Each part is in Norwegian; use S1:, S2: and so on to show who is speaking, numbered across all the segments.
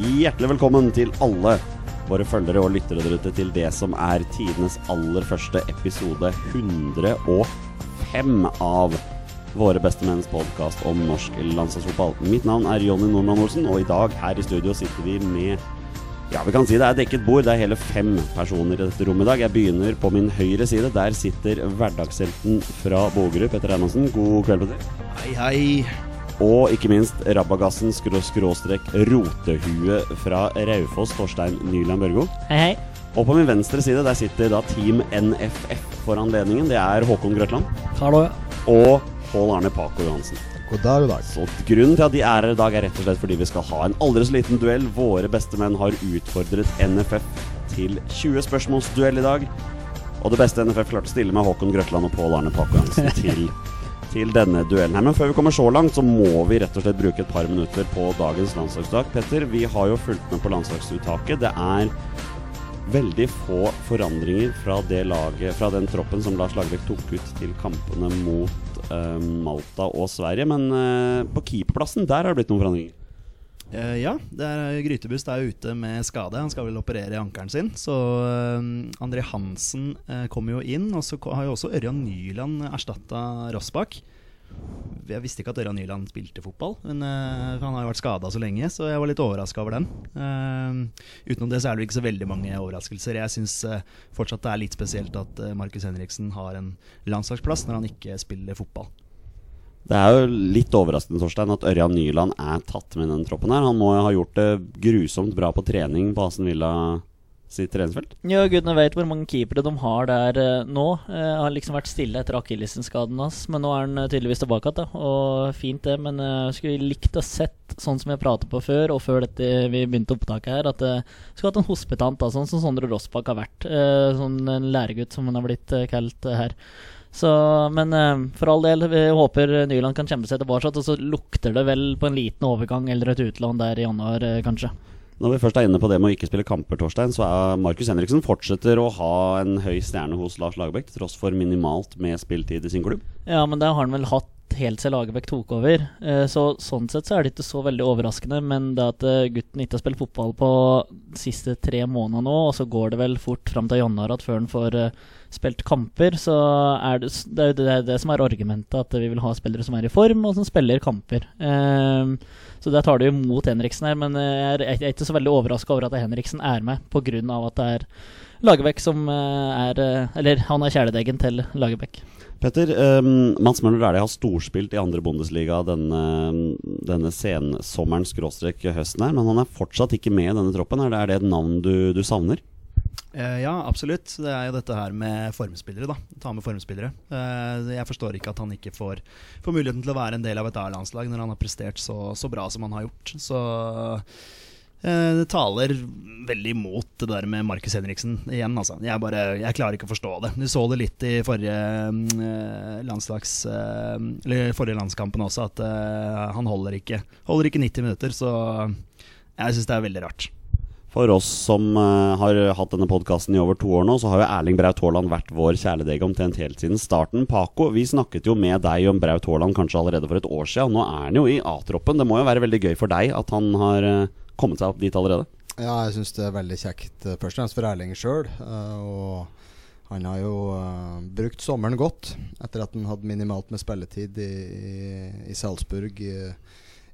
S1: hjertelig velkommen til alle våre følgere og lyttere der ute til det som er tidenes aller første episode 105 av våre beste menns podkast om norsk landslagsfotball. Mitt navn er Jonny Normann Olsen, og i dag her i studio sitter vi med ja, vi kan si det er dekket bord. Det er hele fem personer i dette rommet i dag. Jeg begynner på min høyre side. Der sitter hverdagshelten fra Bogerud, Petter Hermansen. God kveld, Petter.
S2: Hei, hei.
S1: Og ikke minst Rabagassen skrå- skråstrek rotehue fra Raufoss, Torstein Nyland Børgo.
S3: Hei, hei.
S1: Og på min venstre side der sitter da Team NFF for anledningen. Det er Håkon Grøtland
S3: Hallo.
S1: og Pål Arne Paco Johansen.
S2: God dag, god dag.
S1: Så grunnen til at de er her i dag, er rett og slett fordi vi skal ha en aldri så liten duell. Våre bestemenn har utfordret NFF til 20 spørsmålsduell i dag. Og det beste NFF klarte å stille med Håkon Grøtland og Pål Arne Paco Johansen til, til denne duellen. her. Men før vi kommer så langt, så må vi rett og slett bruke et par minutter på dagens landslagsdag. Petter, vi har jo fulgt med på landslagsuttaket. Det er veldig få forandringer fra, det laget, fra den troppen som Lars Lagerbäck tok ut til kampene mot eh, Malta og Sverige. Men eh, på keeperplassen der har det blitt noen forandringer.
S2: Eh, ja, det er Grytebust er ute med skade. Han skal vel operere i ankelen sin. Så eh, André Hansen eh, kommer jo inn. Og så ko- har jo også Ørjan Nyland erstatta Rossbakk. Jeg visste ikke at Ørjan Nyland spilte fotball, men eh, han har jo vært skada så lenge, så jeg var litt overraska over den. Eh, utenom det så er det jo ikke så veldig mange overraskelser. Jeg syns fortsatt det er litt spesielt at eh, Markus Henriksen har en landslagsplass når han ikke spiller fotball.
S1: Det er jo litt overraskende Torstein, at Ørjan Nyland er tatt med i den troppen. her Han må jo ha gjort det grusomt bra på trening på Asen Villa sitt treningsfelt.
S3: Ja, gudene vet hvor mange keepere de har der eh, nå. Eh, har liksom vært stille etter akillesen-skaden hans, men nå er han eh, tydeligvis tilbake igjen, da. Og fint det, men eh, skulle likt å sett, sånn som jeg pratet på før, og før dette vi begynte opptaket her, at eh, skulle hatt en hospitant, da, sånn som Sondre Rossbakk har vært. Eh, sånn en læregutt, som han har blitt eh, kalt eh, her. Så, men eh, for all del, vi håper Nyland kan kjempe seg tilbake, og så lukter det vel på en liten overgang eller et utlån der i januar, eh, kanskje.
S1: Når vi først er inne på det med å ikke spille kamper, Torstein, så er Markus Henriksen fortsetter å ha en høy stjerne hos Lars Lagerbäck, til tross for minimalt med spilletid i sin klubb.
S3: Ja, men det har han vel hatt helt siden Lagerbäck tok over. Eh, Så sånn sett så er det ikke så veldig overraskende, men det at eh, gutten ikke har spilt fotball på de siste tre måneder nå, og så går det vel fort fram til januar at før han får eh, spilt kamper, så er det, s- det er jo det, det er det som er argumentet, at vi vil ha spillere som er i form, og som spiller kamper. Eh, Så der tar det jo mot Henriksen her, men eh, jeg er- jeg er ikke så veldig overraska over at Henriksen er med, på grunn av at det er Lagerbäck som eh, er eh, Eller han er kjæledeggen til Lagerbäck.
S1: Petter, um, Mats Møller Dæhlie har storspilt i andre Bundesliga denne, denne sensommeren skråstrek høsten her, men han er fortsatt ikke med i denne troppen. Er det, er det et navn du, du savner?
S2: Eh, ja, absolutt. Det er jo dette her med formspillere, da. Ta med formspillere. Eh, jeg forstår ikke at han ikke får, får muligheten til å være en del av et A-landslag når han har prestert så, så bra som han har gjort. Så eh, det taler veldig imot det der med Markus Henriksen igjen, altså. Jeg, bare, jeg klarer ikke å forstå det. Du så det litt i forrige eh, landslags... eh, eller forrige landskampen også, at eh, han holder ikke, holder ikke 90 minutter. Så jeg syns det er veldig rart.
S1: For oss som eh, har hatt denne podkasten i over to år nå, så har jo Erling Braut Haaland vært vår kjæledegg omtrent helt siden starten. Paco, vi snakket jo med deg om Braut Haaland kanskje allerede for et år siden. Nå er han jo i A-troppen. Det må jo være veldig gøy for deg at han har eh, kommet seg opp dit allerede.
S4: Ja, jeg syns det er veldig kjekt, eh, først og fremst for Erling sjøl. Og han har jo eh, brukt sommeren godt, etter at han hadde minimalt med spilletid i, i, i Salzburg i,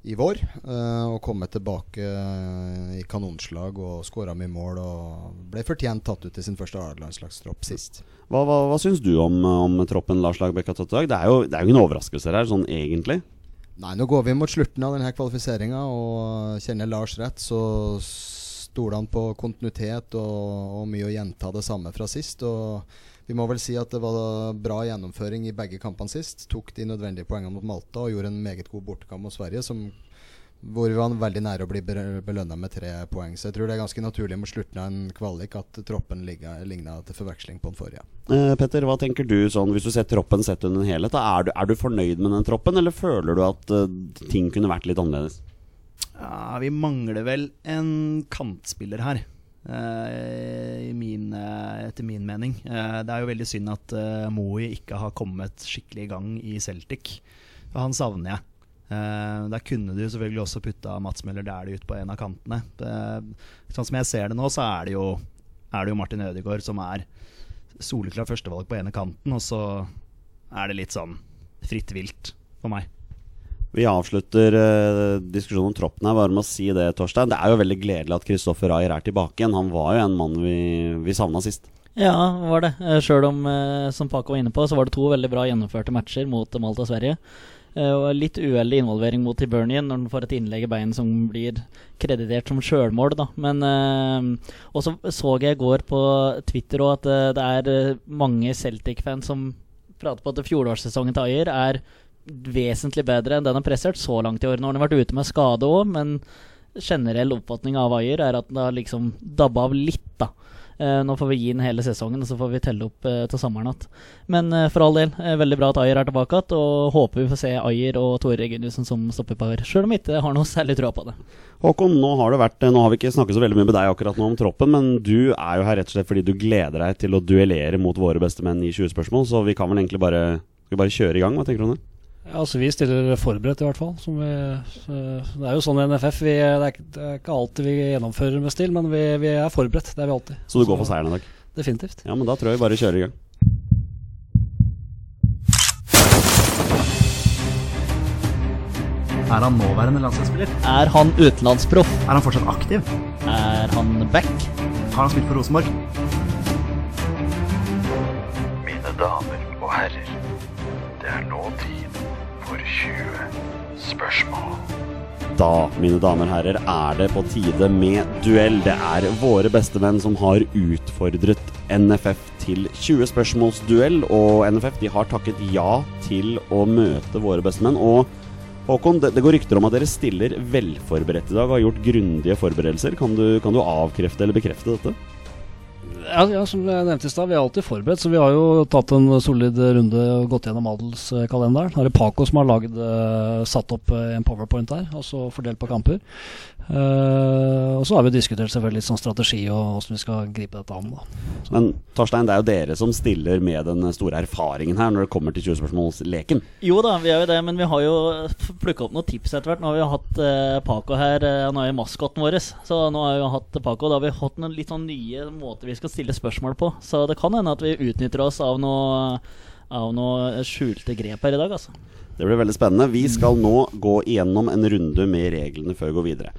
S4: i vår. eh, Og kommet tilbake eh, i kanonslag og skåra mye mål. Og ble fortjent tatt ut i sin første A-landslagstropp sist.
S1: Hva, hva, hva syns du om, eh, om troppen Lars Lagerbäck har tatt i dag? Det er jo det er jo ingen overraskelser her, sånn egentlig.
S4: Nei, nå går vi mot slutten av denne kvalifiseringa, og kjenner Lars rett, så stoler han på kontinuitet og, og mye å gjenta det samme fra sist. Og vi må vel si at det var bra gjennomføring i begge kampene sist. Tok de nødvendige poengene mot Malta og gjorde en meget god bortekamp mot Sverige, som, hvor vi var veldig nære å bli belønna med tre poeng. Så jeg tror det er ganske naturlig mot slutten av en kvalik at troppen ligna til forveksling på den forrige.
S1: Eh, Petter, hva tenker du sånn, hvis du ser troppen sett under en helhet? Da, er, du, er du fornøyd med den troppen, eller føler du at eh, ting kunne vært litt annerledes?
S2: Ja, vi mangler vel en kantspiller her. eh, i min, eh, etter min mening. Eh, det er jo veldig synd eh, at uh, Moey ikke har kommet skikkelig i gang i Celtic. Og han savner jeg. Eh, der kunne du selvfølgelig også putta Mats Møller Dæhlie ut på en av kantene. Det, sånn som jeg ser det nå, så er det jo, er det jo Martin Ødegaard som er soleklart førstevalg på ene kanten, og så er det litt sånn fritt vilt for meg.
S1: Vi avslutter eh, diskusjonen om troppen her bare med å si det, Torstein. Det er jo veldig gledelig at Kristoffer Ayer er tilbake igjen. Han var jo en mann vi, vi savna sist.
S3: Ja, var det. Eh, Sjøl om, eh, som Paco var inne på, så var det to veldig bra gjennomførte matcher mot Malta og Sverige. Eh, Og litt uheldig involvering mot Hibernian når han får et innlegg i beinet som blir kreditert som sjølmål, da. Men eh, Og så så jeg i går på Twitter òg at eh, det er eh, mange Celtic-fans som prater på at fjorårssesongen til Ayer er vesentlig bedre enn den han har prestert så langt i år. Nå har han vært ute med skade òg, men generell oppfatning av Ayer er at den har liksom dabba av litt, da. Eh, nå får vi gi den hele sesongen, og så får vi telle opp eh, til sommeren igjen. Men eh, for all del, eh, veldig bra at Ayer er tilbake igjen, og håper vi får se Ayer og Tore Reginussen som stopperpar, sjøl om jeg ikke har noe særlig trua på det.
S1: Håkon, nå har, det vært, eh, nå har vi ikke snakket så veldig mye med deg akkurat nå om troppen, men du er jo her rett og slett fordi du gleder deg til å duellere mot våre beste menn i 20 spørsmål, så vi kan vel egentlig bare, skal vi bare kjøre i gang. Hva tenker du om det?
S5: Ja, altså Vi stiller forberedt, i hvert fall. Som vi, eh, det er jo sånn i NFF. Vi, det, er, ikke- det er ikke alltid vi gjennomfører med stil, men vi, vi er forberedt. Det er vi alltid.
S1: Så du går for seieren i dag?
S5: Definitivt.
S1: Ja, men da tror jeg vi bare kjører i gang.
S2: Er han nåværende landslagsspiller?
S3: Er han utenlandsproff?
S2: Er han fortsatt aktiv?
S3: Er han back?
S2: Har han spilt for Rosenborg?
S6: Mine damer og herrer, det er nå tid for 20 spørsmål.
S1: Da, mine damer og herrer, er det på tide med duell. Det er våre bestemenn som har utfordret NFF til 20 spørsmålsduell, og NFF de har takket ja til å møte våre bestemenn. Og Håkon, det, det går rykter om at dere stiller velforberedt i dag og har gjort grundige forberedelser. Kan du, kan du avkrefte eller bekrefte dette?
S5: Ja, ja, Som jeg nevnte i stad, vi er alltid forberedt. Så vi har jo tatt en solid runde og gått gjennom adelskalenderen. Her er Paco som har lagd, eh, satt opp eh, en powerpoint der, og så fordelt på kamper. Eh, og så har vi diskutert selvfølgelig litt sånn strategi og åssen vi skal gripe dette an. da.
S1: Men Torstein, det er jo dere som stiller med den store erfaringen her når det kommer til 20-spørsmålsleken.
S3: Jo da, vi er jo det, men vi har jo plukka opp noen tips etter hvert. Nå har vi jo hatt eh, Paco her, eh, han er jo maskotten vår. Så nå har vi jo hatt Paco, og da har vi hatt noen litt sånn nye måter vi skal stille spørsmål på. Så det kan hende at vi utnytter oss av noe av noe skjulte grep her i dag, altså.
S1: Det blir veldig spennende. Vi skal nå gå igjennom en runde med reglene før vi går videre.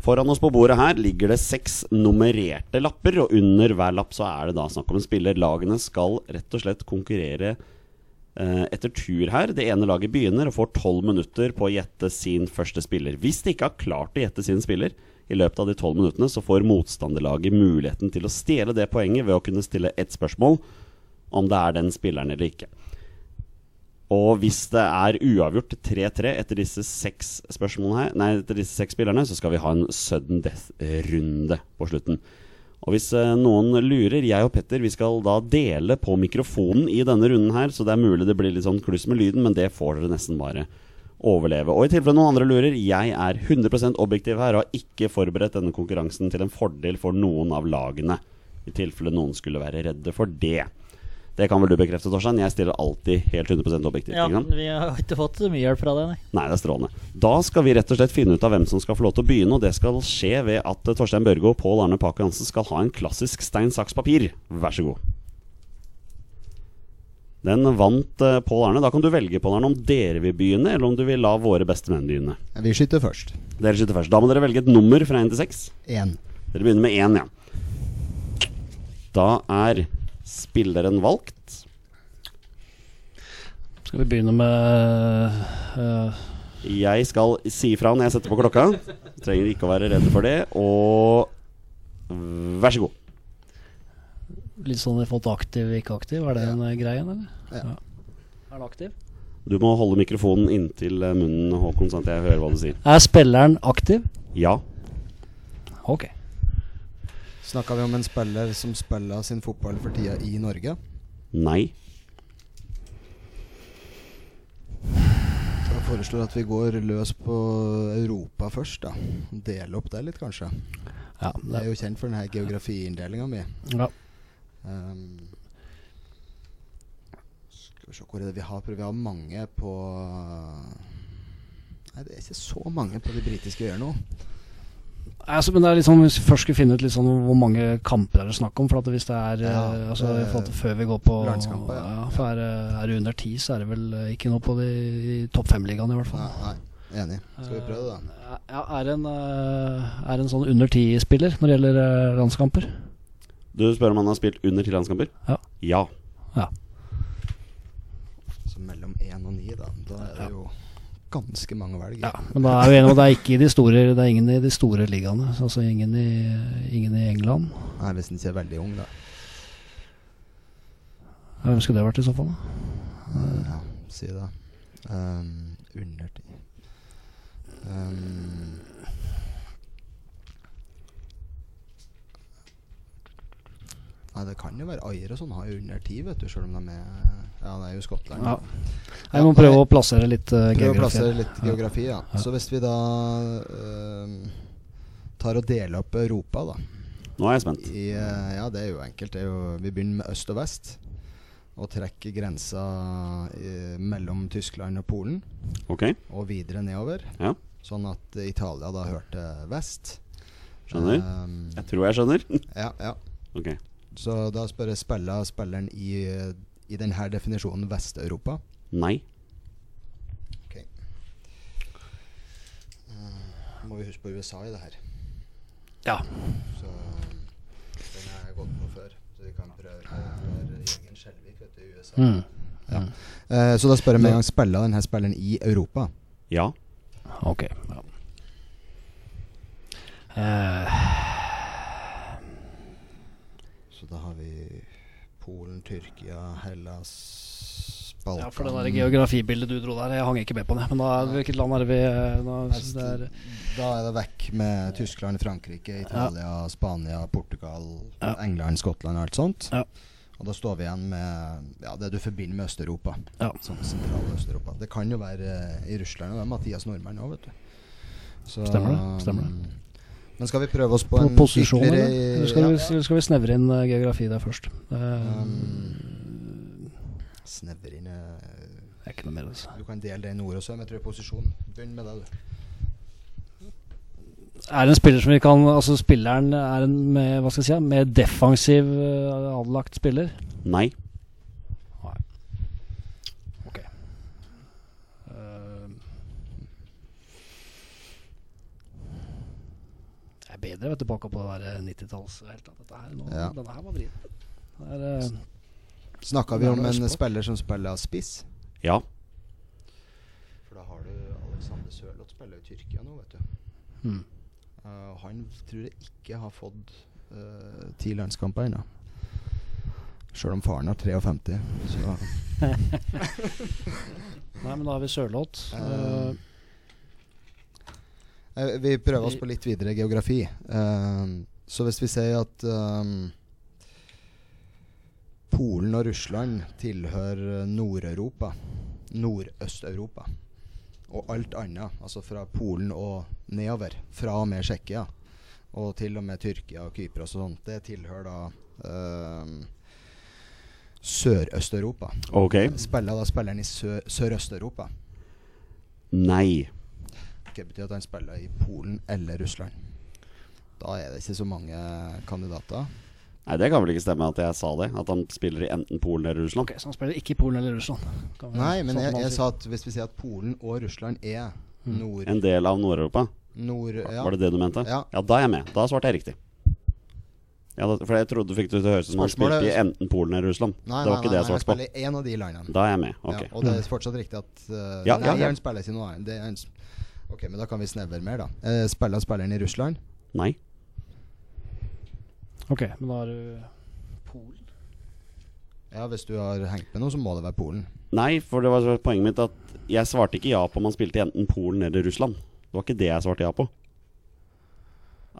S1: Foran oss på bordet her ligger det seks nummererte lapper, og under hver lapp så er det da snakk om en spiller. Lagene skal rett og slett konkurrere eh, etter tur her. Det ene laget begynner og får tolv minutter på å gjette sin første spiller. Hvis de ikke har klart å gjette sin spiller i løpet av de tolv minuttene, så får motstanderlaget muligheten til å stjele det poenget ved å kunne stille ett spørsmål om det er den spilleren eller ikke. Og hvis det er uavgjort 3-3 etter disse seks spørsmålene her Nei, etter disse seks spillerne, så skal vi ha en sudden death-runde på slutten. Og hvis eh, noen lurer, jeg og Petter, vi skal da dele på mikrofonen i denne runden her, så det er mulig det blir litt sånn kluss med lyden, men det får dere nesten bare overleve. Og i tilfelle noen andre lurer, jeg er 100 objektiv her og har ikke forberedt denne konkurransen til en fordel for noen av lagene. I tilfelle noen skulle være redde for det. Det kan vel du bekrefte, Torstein. Jeg stiller alltid helt 100 objektivt.
S3: Ja,
S1: ikke sant?
S3: vi har ikke fått så mye hjelp fra deg, nei.
S1: Nei, det er strålende. Da skal vi rett og slett finne ut av hvem som skal få lov til å begynne, og det skal skje ved at eh, Torstein Børgo og Pål Arne Pakke Hansen skal ha en klassisk stein, saks, papir. Vær så god. Den vant eh, Pål Arne. Da kan du velge Pål Arne om dere vil begynne, eller om du vil la våre beste menn begynne.
S4: Vi skyter først.
S1: Dere skyter først. Da må dere velge et nummer fra én til seks.
S4: Én.
S1: Dere begynner med én, ja. Da er spilleren valgt.
S5: Skal vi begynne med eh,
S1: Jeg skal si ifra når jeg setter på klokka. Trenger ikke å være redd for det. Og vær så god.
S5: litt sånn i forhold til aktiv, ikke aktiv? Er det en eh, greie, eller?
S4: Ja.
S5: Er han aktiv?
S1: Du må holde mikrofonen inntil eh, munnen, Håkon, sånn at jeg hører hva du sier.
S5: Er spilleren aktiv?
S1: Ja.
S5: Ok.
S4: Snakka vi om en spiller som spiller sin fotball for tida i Norge?
S1: Nei.
S4: Jeg foreslår at vi går løs på Europa først, da. Dele opp det litt, kanskje.
S5: Ja,
S4: Jeg
S5: det,
S4: er jo kjent for denne geografiindelinga mi.
S5: ja.
S4: Ehm, skal vi se hvor er det vi har prøvd. Vi har mange på Nei, det er ikke så mange på de britiske øyer nå.
S5: Altså, men det er litt sånn, Hvis vi først skulle finne ut litt sånn hvor mange kamper er det snakk om for at Hvis det er eh,
S4: Ja,
S5: altså,
S4: det-
S5: for at Før vi går på
S4: Landskamper, ja.
S5: for er, det- er det under ti, så er det vel eh, ikke noe på de i topp fem-ligaen, i hvert fall.
S4: Nei, nei, enig. Skal vi prøve det, da?
S5: Ja, er en, eh, er en sånn under ti-spiller når det gjelder eh, landskamper?
S1: Du spør om han har spilt under ti landskamper?
S5: Ja.
S1: ja.
S4: Så mellom én og ni, da. Da er det jo ganske mange å velge.
S5: Ja, men da er vi enige om at det er ikke i de store Det er ingen i de store ligaene. så Altså ingen i, ingen i England.
S4: Nei, Hvis en ikke er veldig ung, da.
S5: Ja, Hvem skulle det vært i så fall? da?
S4: Eh, Ja, si det. Um, under ti um, Nei, det kan jo være Ayer og sånn har jo under ti, vet du, sjøl om de er Ja, det er jo Skottland.
S5: Ja.
S4: Ja,
S5: Jeg må
S4: nei.
S5: prøve å plassere litt uh,
S4: Prøv å
S5: geografi.
S4: plassere litt
S5: Ja.
S4: geografi, ja.
S5: Ja.
S4: Så hvis vi da ehm, tar og deler opp Europa, da
S1: Nå er jeg spent.
S4: i, eh, Ja, det er jo enkelt. Det er jo, vi begynner med øst og vest. Og trekker grensa eh, mellom Tyskland og Polen,
S1: Ok,
S4: og videre nedover.
S1: Ja.
S4: Sånn at eh, Italia da hørte vest.
S1: skjønner.
S4: Ehm,
S1: Jeg tror jeg skjønner.
S4: ja, ja.
S1: Ok,
S4: Så da spør jeg spiller spilleren i, eh, i denne definisjonen Vest-Europa.
S1: Nei.
S4: Ehm, Må vi huske på USA i det her.
S5: Ja.
S4: Så den har jeg gått på før. Så vi kan prøve Jørgen Skjelvik vet du, i USA.
S5: Mm.
S4: Eh, så da spør jeg med en gang spiller denne spilleren i Europa.
S1: Ja.
S5: Ok. Ja. Eh,
S4: Så da har vi Polen, Tyrkia, Hellas, Balkan
S5: ja, for det der geografibildet du dro der, jeg hang ikke med på det. Men da, hvilket land er det vi eh, da,
S4: Vest-
S5: det er,
S4: Da er det vekk med Tyskland, Frankrike, Italia, Spania, Portugal,
S5: Ja.
S4: England, Skottland og alt sånt.
S5: Ja.
S4: Og da står vi igjen med ja, det du forbinder med Øst-Europa.
S5: Ja.
S4: Sånn sentral Øst-Europa. Det kan jo være eh, i Russland, og det er Mathias Nordmann òg, vet du. Så,
S5: Stemmer det, stemmer det.
S4: um, Men skal vi prøve oss på
S5: på
S4: en
S5: posisjon, eller?
S4: ytterligere-
S5: Eller skal,
S4: ja,
S5: vi, eller skal vi snevre inn eh, geografi der først? Eh,
S4: Um, Snevre inn eh,
S5: det er ikke noe mer å si.
S4: Du kan dele det i nord og sør, men jeg tror posisjon. Begynn med det, du.
S5: Er det en spiller som vi kan Altså spilleren er en med, hva skal jeg si, ja, med defensiv eh, anlagt spiller?
S1: Nei.
S5: Ehm. Det er bedre vet du, bakpå på det der 90-talls helt annet. Dette her, nå,
S4: Ja.
S5: Denne her var vrien. Det er, eh,
S4: Snakka vi om
S5: Nærmere
S4: en
S5: østpå.
S4: spiller som spiller spiss?
S1: Ja.
S4: For da har du Alexander Sørloth spiller jo i Tyrkia nå, vet du.
S5: Mm.
S4: Eh, han tror jeg ikke har fått eh, ti landskamper ennå. Sjøl om faren har 53. Så
S5: nei, men da har vi Sørloth.
S4: Eh, eh, Vi prøver oss på litt videre geografi. Eh, så hvis vi sier at eh, Polen og Russland tilhører eh, Nord-Europa, Nordøst-Europa, og alt annet, altså fra Polen og nedover, fra og med Tsjekkia, og til og med Tyrkia og Kypros og sånt, det tilhører da eh, Sørøst-Europa.
S1: Ok.
S4: Spiller da spilleren i Sø- Sørøst-Europa.
S1: Nei.
S4: Det betyr at han spiller i Polen eller Russland. Da er det ikke så mange kandidater.
S1: Nei, Det kan vel ikke stemme at jeg sa det? At han spiller i enten Polen eller Russland?
S5: ok, Så han spiller ikke i Polen eller Russland? Kan vi-
S4: Nei, men
S5: sånn
S4: jeg,
S5: man
S4: jeg
S5: sier.
S4: sa at hvis vi sier at Polen og Russland er nord...
S1: En del av Nord-Europa?
S4: nord ja.
S1: Var det det du mente?
S4: Ja.
S1: ja, da er jeg med. Da svarte jeg riktig. Ja, da, for jeg trodde du fikk det til å høres ut som han
S4: Spørsmålet-
S1: spilte i enten Polen eller Russland.
S4: Nei,
S1: det
S4: nei,
S1: var ikke
S4: nei,
S1: det jeg
S4: nei, han
S1: svarte på.
S4: spiller i en av de landene.
S1: Da er jeg med. Ok. Mm.
S4: Ja, og det er fortsatt riktig at eh,
S1: Ja,
S4: Nei,
S1: ja, ja.
S4: han spiller ikke noe annet. Det er en s- Ok, men da kan vi snevre mer, da. Eh, spiller spilleren i Russland?
S1: Nei.
S5: Ok, men da har du Polen.
S4: Ja, hvis du har hengt med noe, så må det være Polen.
S1: Nei, for det var så- poenget mitt at jeg svarte ikke ja på om han spilte i enten Polen eller Russland. Det var ikke det jeg svarte ja på.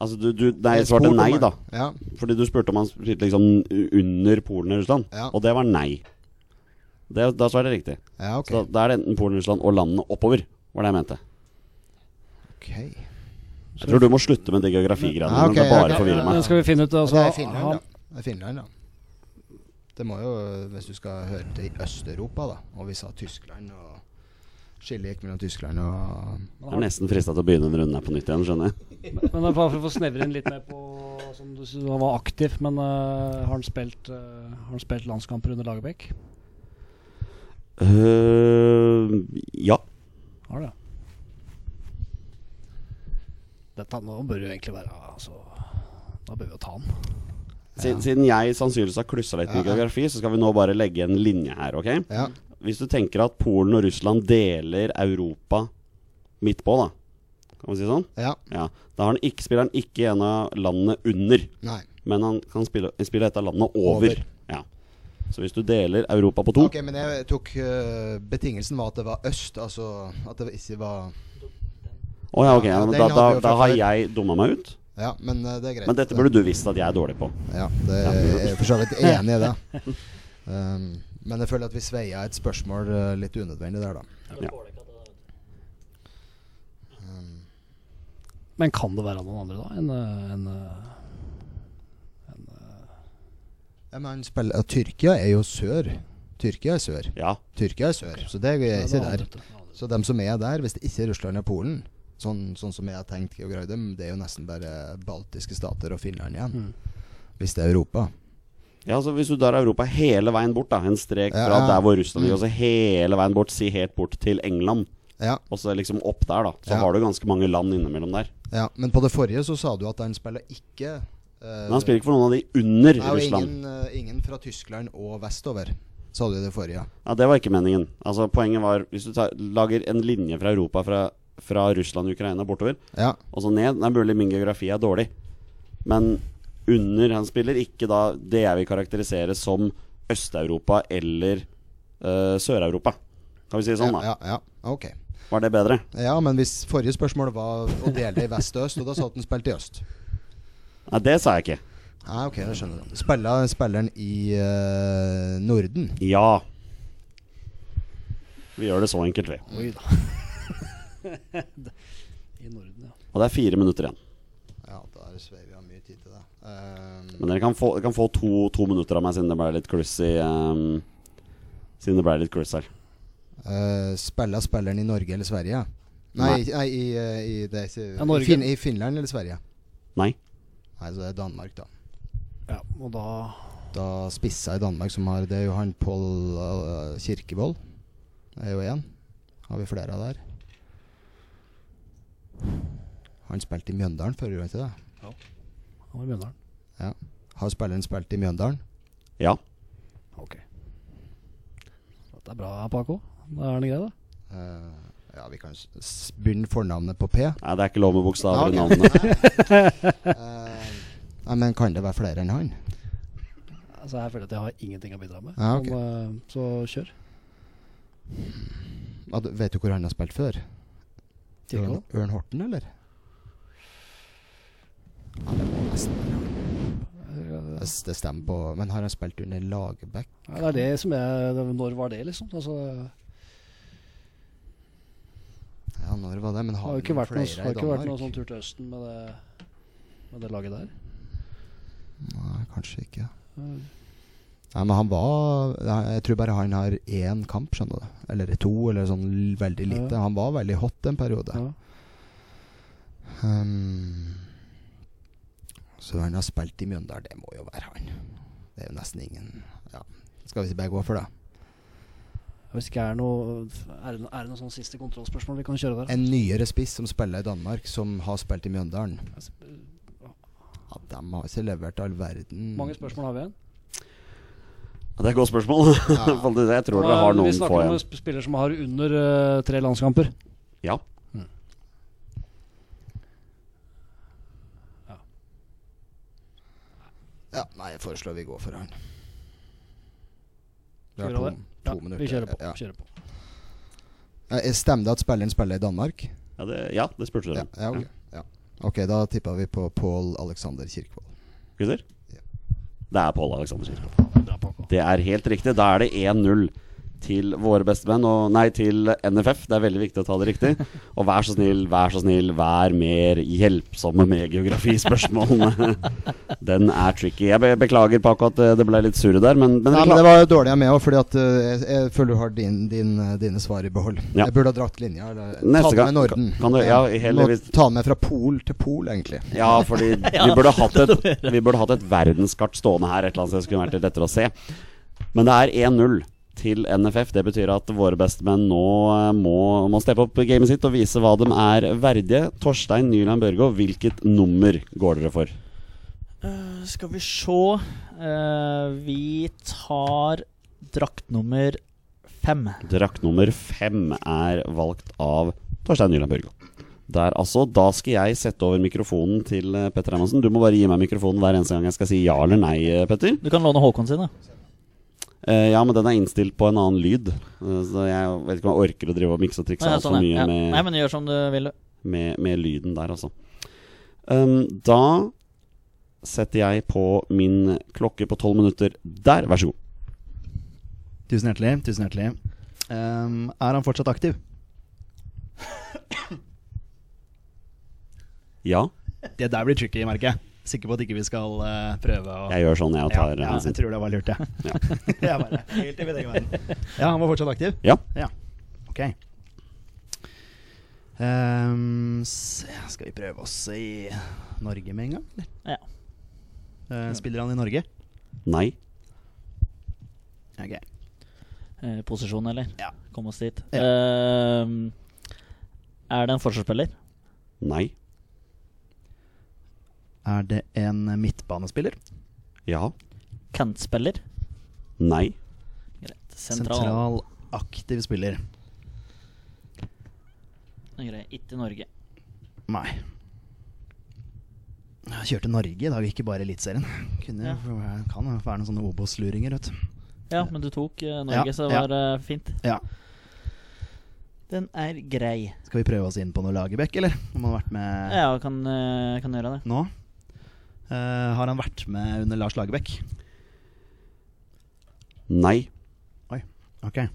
S1: Altså, du, du Nei, jeg svarte
S4: spurte om
S1: nei,
S4: han-
S1: da.
S4: Ja,
S1: Fordi du spurte om han spilte liksom under Polen eller Russland,
S4: Ja.
S1: og det var nei. Det, da svarte jeg riktig.
S4: ja ok.
S1: Så da, da er det enten Polen, Russland og landene oppover, var det jeg mente.
S4: Ok.
S1: Jeg tror du må slutte med de geografigreiene.
S4: Ja, Ah, ok,
S1: men det
S4: ok.
S1: bare
S5: Ja,
S1: forvirrer
S5: men
S1: meg.
S5: skal vi finne ut altså,
S4: det er Finland,
S5: han-
S4: da. Det er Finland, da. Det må jo, hvis du skal høre til i Øst-Europa, da, og vi sa Tyskland og Skillet gikk mellom Tyskland og
S1: Jeg er nesten frista til å begynne den runden her på nytt igjen, skjønner jeg.
S5: Men bare for å få snevre inn litt mer på som du, sier, Han var aktiv, men eh, har, han spilt, eh, har han spilt landskamper under Lagerbäck?
S1: Øh,
S4: Eh,
S1: ja.
S5: Har det. Dette nå bør jo egentlig være altså, Da bør vi jo ta han.
S1: Siden, siden jeg sannsynligvis har klussa litt med geografi, så skal vi nå bare legge en linje her, OK?
S4: Ja.
S1: Hvis du tenker at Polen og Russland deler Europa midt på, da. Kan vi si det sånn?
S4: ja.
S1: Ja. Da har han ikke, spiller han ikke i en av landene under,
S4: Nei.
S1: men han kan spille, spille et av landene over.
S4: Over.
S1: Ja. Så hvis du deler Europa på to
S4: Ok, men jeg tok eh, Betingelsen var at det var øst, altså at det ikke var
S1: Å ja, ok.
S4: Ja,
S1: Ja, men
S4: den
S1: da,
S4: hadde
S1: da,
S4: vi jo
S1: da
S4: fra
S1: har
S4: før.
S1: jeg dumma meg ut.
S4: Ja, men eh, det er greit.
S1: Men dette burde du visst at jeg er dårlig på.
S4: Ja, det
S1: Ja.
S4: jeg er for så vidt enig i det. Um, men jeg føler at vi sveia et spørsmål eh, litt unødvendig der, da. Um,
S5: Men kan det være noen andre, da? En, eh, en, eh,
S4: ja, men spill, ja, Tyrkia er jo sør. Tyrkia er sør.
S1: Ja.
S4: Tyrkia er sør, så det er
S5: det er
S4: ikke
S5: noe
S4: der.
S5: annet, vet du.
S4: Så dem som er der, hvis det ikke er Russland og Polen, sånn, sånn som jeg har tenkt geografi, dem, det er jo nesten bare baltiske stater og Finland igjen.
S5: Mm.
S4: Hvis det er Europa.
S1: Ja, altså Hvis du drar Europa hele veien bort, da en strek
S4: Ja,
S1: fra
S4: ja.
S1: der hvor Russland ligger, og så hele veien bort, si helt bort til England,
S4: Ja,
S1: og så liksom opp der, da, så
S4: Ja.
S1: har du ganske mange land innimellom der.
S4: ja. Men på det forrige så sa du at han spiller ikke eh,
S1: Men han spiller ikke for noen av de under
S4: Nei, og
S1: Russland.
S4: ingen, eh, ingen fra Tyskland og vestover, sa du i det forrige.
S1: Ja, Det var ikke meningen. Altså Poenget var hvis du tar, lager en linje fra Europa, fra, fra Russland, Ukraina bortover,
S4: Ja,
S1: og så Altså, ned Det er mulig min geografi er dårlig, men under han spiller ikke da det jeg vil karakterisere som Øst-Europa eller eh, Sør-Europa. Kan vi si det sånn, da?
S4: ja, ja, ok.
S1: Var det bedre?
S4: Ja, men hvis forrige spørsmål var å dele det i vest og øst, og da sa du at den spilte i øst.
S1: Nei, det sa jeg ikke.
S4: Nei, ok, det skjønner du. Spiller spilleren i eh, Norden?
S1: Ja. Vi gjør det så enkelt, vi.
S5: Oi da. I Norden, ja.
S1: Og det er fire minutter igjen.
S4: Ja, der sveiver vi av mye tid til det. Eh,
S1: Men dere kan få, dere kan få to, to minutter av meg siden det ble litt kluss i ehm, Siden det ble litt kluss her.
S4: Eh, spiller spilleren i Norge eller Sverige? Nei,
S1: Nei.
S4: i- nei i, eh, i, det, er ikke-
S5: Ja, Norge.
S4: i, fin, i Finland eller Sverige?
S1: Nei.
S4: Nei, så det er Danmark, da.
S5: ja. Og da
S4: da spissa i Danmark som har Det er jo han Pål eh, Kirkevold. Det er jo én. Har vi flere av der? Han spilte i Mjøndalen før, gjorde han ikke det?
S5: Han var i Mjøndalen.
S4: Har spilleren spilt i Mjøndalen?
S1: Ja.
S5: Ok. Dette er bra, Paco. Da er det greit, da.
S4: Eh, ja, vi kan s- s- begynne fornavnet på P.
S1: Nei, det er ikke lov med bokstaver i
S4: Ja, ok.
S1: navnene.
S4: Eh, Nei, men kan det være flere enn han?
S5: Altså, jeg føler at jeg har ingenting å bidra med.
S4: Ja, Ah, ok.
S5: Men, eh, så kjør.
S4: Ja, du- vet du hvor han har spilt før? Ørn, Ørn Horten, eller? Ja, det må nesten være han.
S5: Ja,
S4: Hvis Det stemmer på Men har han spilt under Lagerbäck?
S5: det er det som jeg det- Når var det, liksom? Altså,
S4: Ja, når var det? Men
S5: det
S4: har
S5: har jo ikke
S4: han
S5: vært noe,
S4: flere
S5: har
S4: i
S5: ikke vært
S4: Danmark?
S5: noen sånn tur til Østen med det, med det laget der.
S4: Nei, kanskje ikke.
S5: Mm.
S4: Nei, men han var nei, Jeg tror bare han har én kamp, skjønner du. Eller to, eller sånn l- veldig lite.
S5: Ja.
S4: Han var veldig hot en periode.
S5: Ja.
S4: Ehm, så han har spilt i Mjøndalen. Det må jo være han. Det er jo nesten ingen Ja, skal vi ikke bare gå for det?
S5: Hvis ikke er noe Er det, er det noe sånn siste kontrollspørsmål vi kan kjøre der?
S4: En nyere spiss som spiller i Danmark, som har spilt i Mjøndalen.
S5: Altså,
S4: Ja, de har ikke levert all verden.
S5: Mange spørsmål har vi igjen.
S1: Det er et godt spørsmål. Faktisk, Jeg tror dere har
S5: Eh, vi
S1: noen få
S5: snakker om
S1: igjen.
S5: sp- spillere som har under eh, tre landskamper.
S1: Ja.
S4: Ja, nei, jeg foreslår vi går for han. Vi
S5: Skal
S4: har
S5: vi
S4: to,
S5: gjøre det?
S4: to
S5: Ja,
S4: minutter.
S5: vi kjører på.
S4: Ja.
S5: Kjører på.
S4: Eh, Stemmer det at spilleren spiller i Danmark?
S1: Ja, det, ja, det spurte dere.
S4: Ja, ja, ok. ja. Ok, da tippa vi på Pål Alexander Kirkevold.
S1: Gutter?
S4: Ja.
S1: Det er Pål Alexander Kirkevold.
S5: Bra, Paco.
S1: Det er helt riktig. Da er det 1-0 til våre bestemenn, og nei, til NFF. Det er veldig viktig å ta det riktig. Og vær så snill, vær så snill, vær mer hjelpsomme med geografispørsmålene. Den er tricky. Jeg be beklager, Paco, at eh, det ble litt surre der, men, men,
S4: Nei,
S1: det
S4: men
S1: klar-
S4: Det var jo dårlig jeg med òg, for eh, jeg, jeg føler du har din, din, eh, dine svar i behold.
S1: Ja.
S4: Jeg burde ha dratt linja. Eller,
S1: Neste
S4: tatt
S1: gang-
S4: med Norden.
S1: kan du- ja, heller
S4: Må
S1: hvis-
S4: ta med fra pol til pol, egentlig.
S1: Ja, fordi vi burde hatt et, vi burde hatt et verdenskart stående her et eller annet sted. Skulle vært litt lettere å se. Men det er 1-0 til NFF. Det betyr at våre bestemenn nå eh, må, må steppe opp gamet sitt og vise hva de er verdige. Torstein Nyland Børgo, hvilket nummer går dere for?
S3: Eh, skal vi se Eh, Vi tar draktnummer fem.
S1: Drakt nummer fem er valgt av Torstein Nyland Børgo. Der altså, Da skal jeg sette over mikrofonen til eh, Petter Hermansen. Du må bare gi meg mikrofonen hver eneste gang jeg skal si ja eller nei, eh, Petter.
S3: Du kan låne Håkon sine.
S1: Eh, ja, men den er innstilt på en annen lyd. Eh, så jeg vet ikke om jeg orker å drive og mikse og trikse
S3: Nei,
S1: altfor
S3: sånn,
S1: mye
S3: ja.
S1: med,
S3: Nei, men gjør som du vil.
S1: med, med lyden der, altså. Um, da setter jeg på min klokke på tolv minutter der. Vær så god.
S2: Tusen hjertelig. tusen hjertelig Ehm, Er han fortsatt aktiv?
S1: Ja,
S2: Det der blir tricky, merker jeg. Sikker på at ikke vi skal eh, prøve å
S1: jeg gjør sånn, jeg og
S2: ja,
S1: tar
S2: ja,
S1: hensyn.
S2: jeg tror det var lurt, jeg.
S1: Ja.
S2: jeg bare, helt i min egen verden. Ja, han var fortsatt aktiv?
S1: Ja.
S2: Ok. Ehm, se, skal vi prøve oss i Norge med en gang, eller?
S3: Ja.
S2: Eh, spiller han i Norge?
S1: Nei.
S2: Ok.
S3: Eh, posisjon, eller?
S2: Ja.
S3: Kom oss dit.
S2: Ja.
S3: Eh, er det en forsvarsspiller?
S1: Nei.
S2: Er det en midtbanespiller?
S1: Ja.
S3: Kantspiller?
S1: Nei.
S3: Greit.
S2: Sentral,
S3: Sentral.
S2: aktiv spiller.
S3: Greit. Ikke Norge.
S2: Nei. Jeg kjørte Norge i dag, ikke bare Eliteserien. Kunne,
S3: Ja.
S2: Kan være noen sånne Obos-luringer, vet du.
S3: Ja, men du tok eh, Norge,
S2: Ja,
S3: så det
S2: ja.
S3: var eh, fint.
S2: Ja.
S3: Den er grei.
S2: Skal vi prøve oss inn på noe Lagerbäck, eller? Om han har vært med
S3: Ja, kan, eh, kan gjøre det.
S2: nå? Eh, har han vært med under Lars Lagerbäck?
S1: Nei.
S2: Ok.
S3: Eh,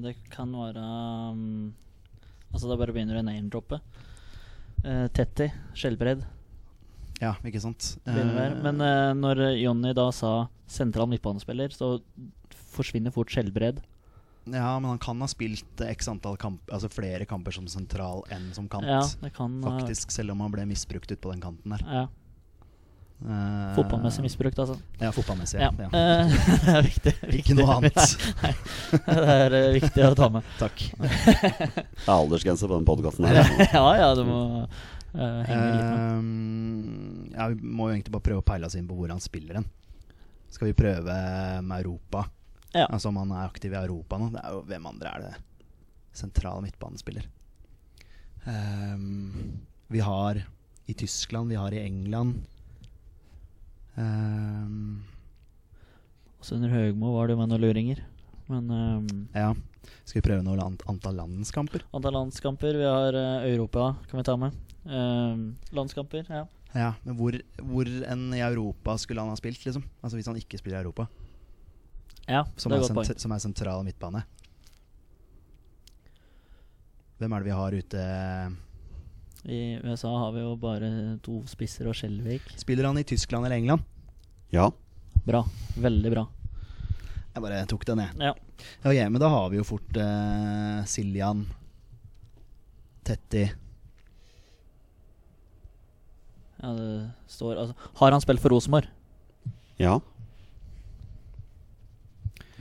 S3: det kan være um, Altså, da bare begynner du å name-droppe. Eh, Tetti, Skjelbred,
S2: Ja, ikke sant. Eh,
S3: begynner der. Men eh, når Jonny da sa sentral midtbanespiller, så forsvinner fort Skjelbred.
S2: ja, men han kan ha spilt eh, x antall kamp, altså flere kamper som sentral enn som kant.
S3: Ja, det kan ha-
S2: Faktisk, selv om han ble misbrukt ut på den kanten der.
S3: Ja,
S2: Eh,
S3: Fotballmessig misbrukt, altså.
S2: Ja, fotballmessig.
S3: Ja.
S2: Ja.
S3: eh, det er viktig.
S2: Ikke noe annet.
S3: det er eh, viktig å ta med.
S2: Takk.
S1: Det er aldersgrense på den podkasten her.
S3: ja ja, du må eh, henge litt med.
S2: Ehm, ja, vi må jo egentlig bare prøve å peile oss inn på hvor han spiller den. Skal vi prøve med Europa?
S3: Ja.
S2: Altså om han er aktiv i Europa nå. Det er jo, hvem andre er det? Sentral midtbanespiller. Ehm, vi har i Tyskland, vi har i England. Ehm,
S3: Også under Høgmo var det jo med noen luringer. Men um,
S2: ja. Skal vi prøve noe land, antall landskamper?
S3: antall landskamper Vi har eh, Europa, kan vi ta med. Ehm, landskamper, ja.
S2: Ja, men hvor, hvor enn i Europa skulle han ha spilt, liksom? Altså hvis han ikke spiller i Europa,
S3: ja
S2: som,
S3: det
S2: er,
S3: er godt poeng.
S2: sent, som er sentral midtbane. Hvem er det vi har ute
S3: I USA har vi jo bare to spisser og Skjelvik.
S2: Spiller han i Tyskland eller England?
S1: Ja.
S3: Bra. Veldig bra.
S2: Jeg bare tok den, jeg.
S3: Ja.
S2: Ja, ok, men da har vi jo fort eh, Siljan, Tetti
S3: ja det står altså, Har han spilt for Rosenborg?
S1: Ja.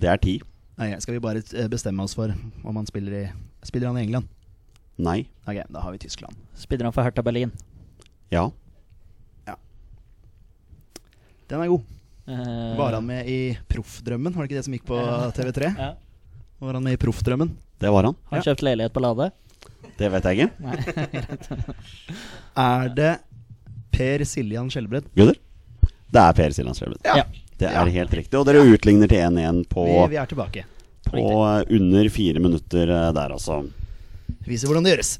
S1: Det er ti.
S2: Nei, Skal vi bare eh, bestemme oss for om han spiller i Spiller han i England?
S1: Nei.
S2: Ok, da har vi Tyskland.
S3: Spiller han for Hertha Berlin?
S1: Ja.
S2: Den er god.
S3: Eh,
S2: Var han med i Proffdrømmen? Var det ikke det som gikk på TV3?
S3: Ja.
S2: Var han med i Proffdrømmen?
S1: Det var han.
S3: Har han kjøpt leilighet på Lade?
S1: Det vet jeg ikke.
S2: Er det Per Siljan Skjelbred?
S1: Gutter? Det er Per Siland Skjelbred.
S3: Ja.
S1: Det er helt riktig. Og dere utligner til 1-1 på,
S2: Vi, vi er tilbake.
S1: på under fire minutter eh, der, altså.
S2: Viser hvordan det gjøres.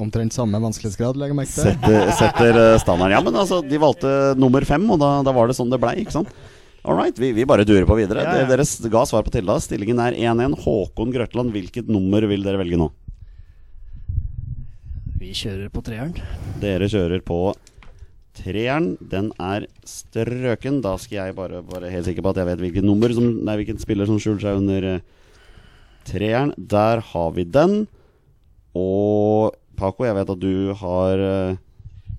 S4: Omtrent samme vanskelighetsgrad, legger jeg merke til.
S1: Setter, setter eh, standarden. Ja, men altså, de valgte nummer fem, og da, da var det sånn det blei, ikke sant? All right, vi, vi bare durer på videre.
S2: Ja, ja.
S1: Dere s- ga svar på Tilda. Stillingen er 1-1. Håkon Grøtland, hvilket nummer vil dere velge nå?
S5: Vi kjører på treeren.
S1: Dere kjører på treeren. Den er strøken. Da skal jeg bare være helt sikker på at jeg vet hvilket nummer som, Nei, hvilken spiller som skjuler seg under eh, treeren. Der har vi den. Og Paco, jeg vet at du har eh,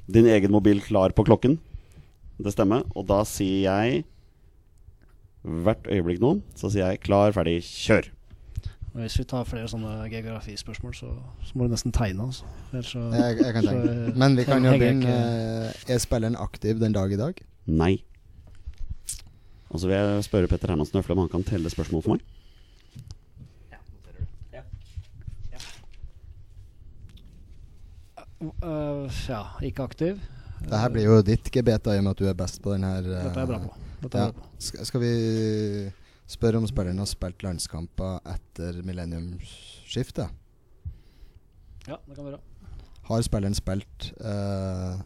S1: din egen mobil klar på klokken. Det stemmer. Og da sier jeg hvert øyeblikk nå, så sier jeg klar, ferdig, kjør.
S5: Og hvis vi tar flere sånne geografispørsmål, så, så må du nesten tegne. Altså. Ellers så,
S4: Jeg, jeg kan
S5: så- eh,
S4: tenke. Men vi kan jo
S5: henger jeg
S4: begynne.
S5: ikke-
S4: eh, Er spilleren aktiv den dag i dag?
S1: Nei. Og så vil jeg spørre Petter Hermansen Øfle om han kan telle spørsmål for meg.
S5: Øh, ja, ikke aktiv.
S4: Det her blir jo ditt gebet, da, i og med at du er best på den her. eh,
S5: Dette er jeg bra på. Dette er
S4: Ja.
S5: jeg bra på.
S4: Skal, skal vi spørre om spilleren har spilt landskamper etter millenniumsskiftet?
S5: Ja, det kan være.
S4: Har spilleren spilt eh,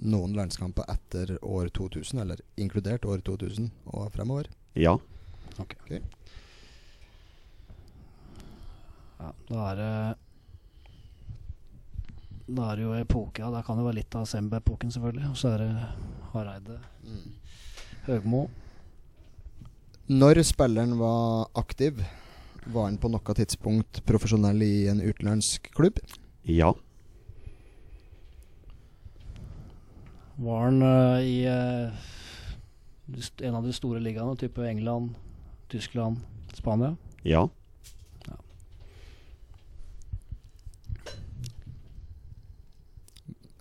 S4: noen landskamper etter år 2000, eller inkludert år 2000 og fremover?
S1: Ja.
S5: Ja, da er det Da er det jo epoke, ja. Da kan det være litt av Semba-epoken, selvfølgelig. Og så er det Hareide,
S4: Mm.
S5: Høgmo.
S4: Når spilleren var aktiv, var han på noe tidspunkt profesjonell i en utenlandsk klubb?
S1: Ja.
S5: Var han øh, i øh, de st- en av de store ligaene, type England, Tyskland, Spania?
S1: Ja.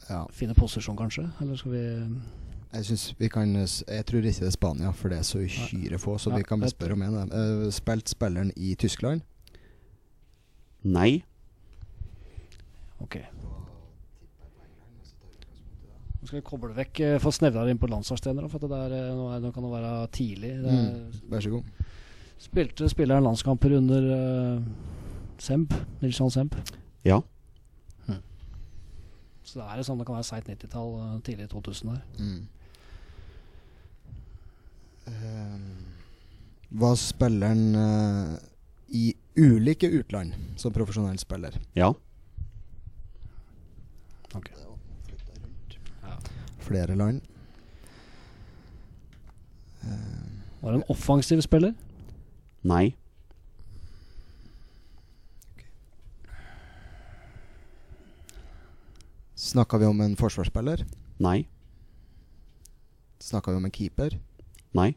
S4: Ja.
S5: Finne posisjon, kanskje? Eller skal vi
S4: Jeg, synes vi kan, s- jeg tror ikke det er Spania, for det er så uhyre få, så
S5: Nei,
S4: vi kan bare
S5: vet-
S4: spørre om en av dem. Eh, Spilt spilleren i Tyskland?
S1: Nei.
S5: Ok. Nå skal vi koble vekk, eh, få snevra det inn på landslagstrener. da, For at det der, eh, nå, er, nå kan det være tidlig. Det er,
S4: Vær så god.
S5: Spilte spilleren landskamper under eh, Semb? Nils Johan Semb?
S1: Ja.
S5: Hm. Så det er jo sånn det kan være seigt 90-tall, eh, tidlig 2000 der.
S4: Mm. Ehm, var spilleren eh, i ulike utland som profesjonell spiller?
S1: Ja.
S4: Flere land?
S5: Var en offensiv spiller.
S1: Nei.
S4: Snakka vi om en forsvarsspiller?
S1: Nei.
S4: Snakka vi om en keeper?
S1: Nei.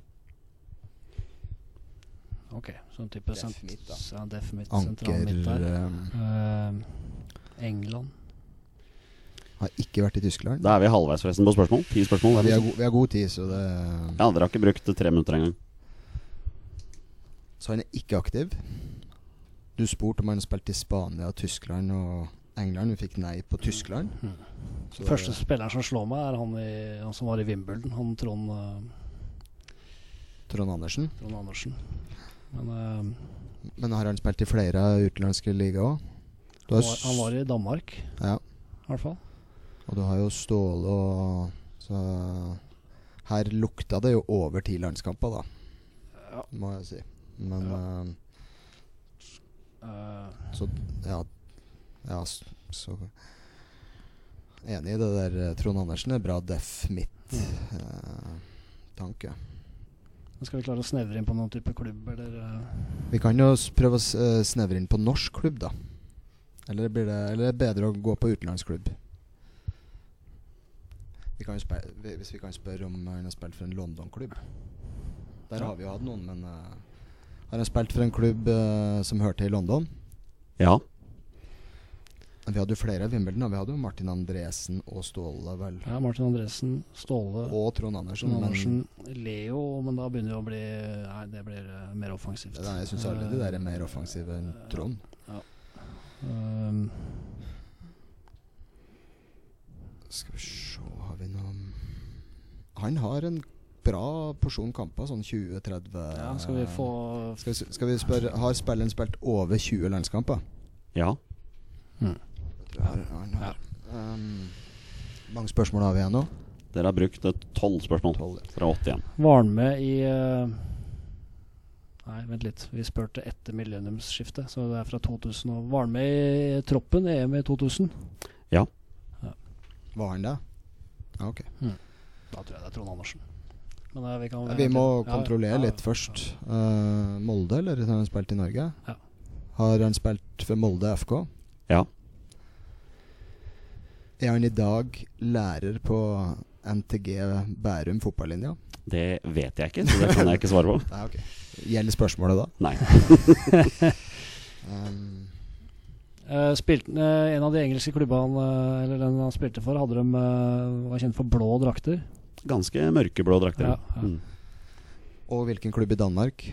S5: Ok, sånn type
S4: Def
S5: sent-
S4: midt, da.
S5: ja, def midt, sentral
S4: Anker
S5: midt der.
S4: ehm,
S5: Eh, England.
S4: har ikke vært i Tyskland.
S1: Da er vi halvveis forresten på spørsmål. Ti spørsmål.
S4: Vi
S1: er det.
S4: har, go vi har god tid, så det
S1: Ja, Dere har ikke brukt tre minutter engang.
S4: Så han er ikke aktiv. Du spurte om han spilte i Spania, Tyskland og England. Vi fikk nei på Tyskland.
S5: Mhm.
S4: Så
S5: Første spilleren som slår meg, er han, i, han som var i Wimbledon. Han Trond, eh,
S4: Trond Andersen.
S5: Trond Andersen. Men eh,
S4: Men har han spilt i flere utenlandske ligaer òg?
S5: han, var, han var i Danmark,
S4: Ja.
S5: i hvert fall.
S4: Og du har jo Ståle og Så her lukta det jo over ti landskamper, da.
S5: Ja.
S4: Må jeg si. Men eh,
S5: Eh,
S4: Så ja, ja s- så Enig i det der eh, Trond Andersen er bra def mitt eh, tanke.
S5: Men skal vi klare å snevre inn på noen type klubb, eller eh,
S4: Vi kan jo s- prøve å s- eh, snevre inn på norsk klubb, da. Eller, blir det, eller er det bedre å gå på utenlandsklubb? Vi kan jo spe- vi- hvis vi kan spørre om han har spilt for en London-klubb. Der
S5: Ja.
S4: har vi jo hatt noen, men eh, har han spilt for en klubb eh, som hørte til i London?
S1: Ja.
S4: Vi hadde jo flere Wimbledon. da. Vi hadde jo Martin Andresen og Ståle, vel.
S5: ja, Martin Andresen, Ståle
S4: Og Trond Andersen.
S5: Trond
S4: men-
S5: Andersen, Leo, men da begynner det å bli Nei, det blir eh, mer offensivt. Eh,
S4: Nei, jeg syns alle de der er mer offensive enn Trond.
S5: Ehm,
S4: Skal vi se, har vi noe Han har en bra porsjon kamper, sånn 20-30
S5: ja, skal vi få
S4: skal vi, skal vi spørre, Har spilleren spilt over 20 landskamper?
S1: Ja.
S4: Jeg tror han har. Um, mange spørsmål har vi igjen nå.
S1: Dere har brukt eh, 12 spørsmål.
S4: Tolv, ja.
S1: Dere har 80 igjen.
S5: Var han med i eh, Nei, vent litt. Vi spurte etter millenniumsskiftet, så det er fra 2000. Og var han med i troppen i EM i 2000?
S4: Var han det? Ja, ok.
S5: Da tror jeg det er Trond Andersen. Men eh, vi, kan,
S4: Vi må kontrollere
S5: Ja, ja.
S4: litt først. Eh, Molde, eller har han spilt i Norge?
S5: Ja.
S4: Har han spilt for Molde FK?
S1: Ja.
S4: Er han i dag lærer på NTG Bærum fotballinja?
S1: Det vet jeg ikke, så det kan jeg ikke svare på.
S4: Nei, ok. Gjelder spørsmålet da?
S1: Nei.
S4: Um,
S5: Eh, spilte, eh, en av de engelske klubba han, eh, eller den han spilte for, hadde de, eh, var kjent for blå drakter.
S1: Ganske mørkeblå drakter.
S5: Ja, ja.
S1: Mm.
S4: og hvilken klubb i Danmark?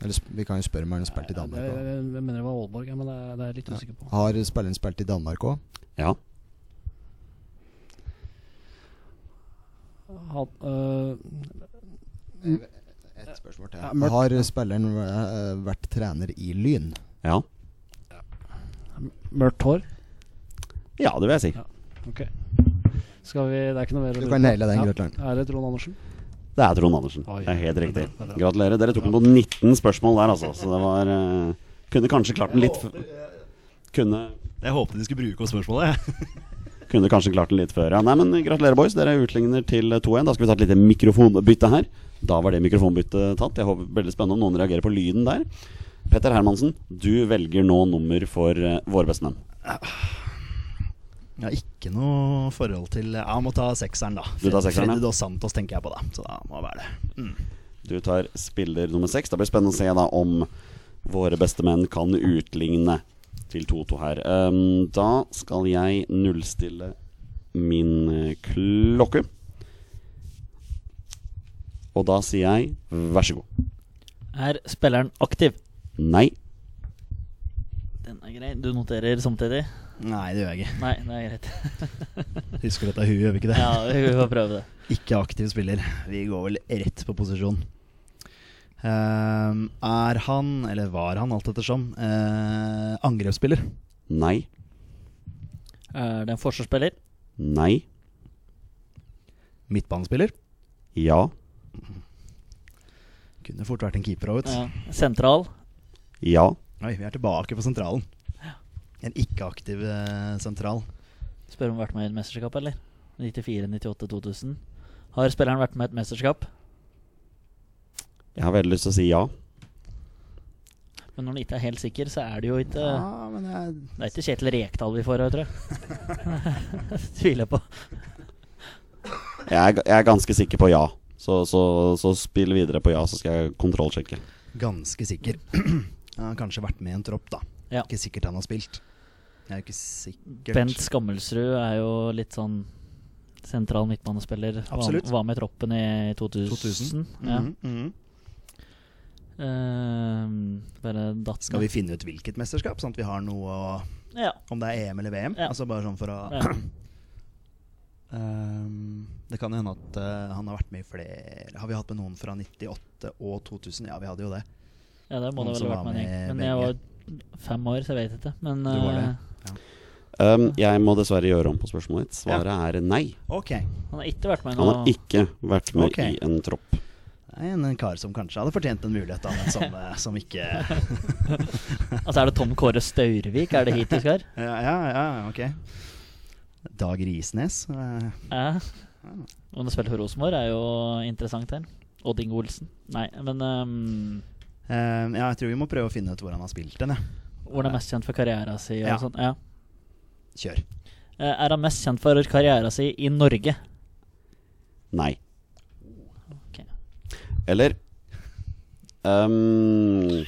S4: Eller sp- vi kan jo spørre om han har spilt i Danmark
S5: Jeg,
S4: òg.
S5: jeg, jeg mener det var Aalborg, ja, men det er- det er jeg litt usikker på.
S4: Har spilleren spilt i Danmark òg?
S1: ja.
S5: Han, eh,
S4: Ett spørsmål til.
S5: Ja, mørkt.
S4: har spilleren eh, vært trener i Lyn?
S1: ja.
S5: mørkt hår.
S1: Ja, det vil jeg si.
S5: Ok. Skal vi, det er ikke noe mer
S4: Du
S5: å lure
S4: kan
S5: på.
S4: naile den,
S5: Ja.
S4: Grøtland.
S5: Er det Trond Andersen?
S1: Det er Trond Andersen.
S5: Oi.
S1: Det er helt riktig.
S5: Det er bra.
S1: Gratulerer. Dere tok den på 19 spørsmål der, altså. Så det var eh, Kunne kanskje klart den litt før.
S5: eh,
S1: Kunne,
S2: Jeg håpet de skulle bruke opp spørsmålet. jeg.
S1: kunne kanskje klart den litt før, ja. Nei, men gratulerer, boys. Dere utligner til 2-1. Da skal vi ta et lite mikrofonbytte her. Da var det mikrofonbyttet tatt. Jeg håper Veldig spennende om noen reagerer på lyden der. Petter Hermansen, du velger nå nummer for eh, våre bestemenn.
S2: Jeg har ikke noe forhold til Ja, jeg må ta sekseren, da.
S1: Du tar sekseren, ja.
S2: Freddy Dos Santos tenker jeg på, da. Så da må det være det.
S1: Du tar spiller nummer seks. Det blir spennende å se da om våre bestemenn kan utligne til 2-2 her. Ehm, da skal jeg nullstille min eh, klokke. Og da sier jeg vær så god.
S3: Er spilleren aktiv?
S1: Nei.
S3: Den er grei. Du noterer samtidig?
S2: Nei, det gjør jeg ikke.
S3: Nei, det er greit.
S2: Husker dette huet, gjør vi ikke det?
S3: Ja, vi får prøve det.
S2: Ikke aktiv spiller. Vi går vel rett på posisjon. Ehm, er han, eller var han, alt ettersom, eh, angrepsspiller?
S1: Nei.
S3: Er det en forsvarsspiller?
S1: Nei.
S2: Midtbanespiller?
S1: Ja.
S2: Kunne fort vært en keeper òg, vet du.
S3: Ja. Sentral?
S1: Ja.
S2: Oi, vi er tilbake på sentralen. En ikke-aktiv eh, sentral.
S3: Spør om han har vært med i et mesterskap, eller? 94, 98, 2000. Har spilleren vært med i et mesterskap?
S1: Jeg har veldig lyst til å si ja.
S3: Men når han ikke er helt sikker, så er det jo ikke
S2: Ja, men jeg
S3: Det er ikke Kjetil Rekdal vi får her, tror jeg. Det Tviler jeg på.
S1: Jeg er, jeg er ganske sikker på ja. Så, så, så spill videre på ja, så skal jeg kontrollsjekke.
S2: Ganske sikker. han har kanskje vært med i en tropp, da.
S3: Ja.
S2: Ikke sikkert han har spilt. Jeg er ikke sikkert
S3: Bent Skammelsrud er jo litt sånn sentral midtbanespiller.
S2: Absolutt.
S3: Var, var med i troppen i 2000.
S2: 2000.
S3: Ja.
S2: Mhm, mhm.
S3: Eh, bare datt
S2: Skal vi finne ut hvilket mesterskap, sånn at vi har noe å
S3: ned. Ja.
S2: Om det er EM eller VM?
S3: Ja.
S2: Altså bare sånn for å
S3: ja.
S2: Ehm, Det kan jo hende at eh, han har vært med i flere Har vi hatt med noen fra 98 og 2000? Ja, vi hadde jo det.
S3: Ja, det må
S2: Noen
S3: det vel
S2: som
S3: ha
S2: var
S3: vært med en
S2: med
S3: gjeng. Men
S2: begge.
S3: jeg var fem år, så jeg vet ikke. Men
S2: Du var det.
S3: eh,
S1: Ehm, jeg må dessverre gjøre om på spørsmålet ditt. Svaret er nei.
S2: Ok. Det
S3: han har ikke vært med
S1: Han har
S3: nå.
S1: ikke vært med
S2: Ok.
S1: i en tropp.
S2: er en, en kar som kanskje hadde fortjent en mulighet, da, men som, eh, som ikke ja,
S3: Altså, er det Tom Kåre Staurvik? Er det hit du skal?
S2: ja, ja, ok. Dag Risnes. eh,
S3: Ja. Om du spiller for Rosenborg, er jo interessant her. Odd Inge Olsen. Nei, men ehm,
S2: eh, ja, jeg tror vi må prøve å finne ut hvor han har spilt den. jeg.
S3: hvor han er mest kjent for karriera si og
S2: Ja.
S3: sånn. Ja.
S2: Kjør.
S3: Eh, Er han mest kjent for karriera si i Norge?
S1: Nei.
S3: Ok.
S1: Eller ehm,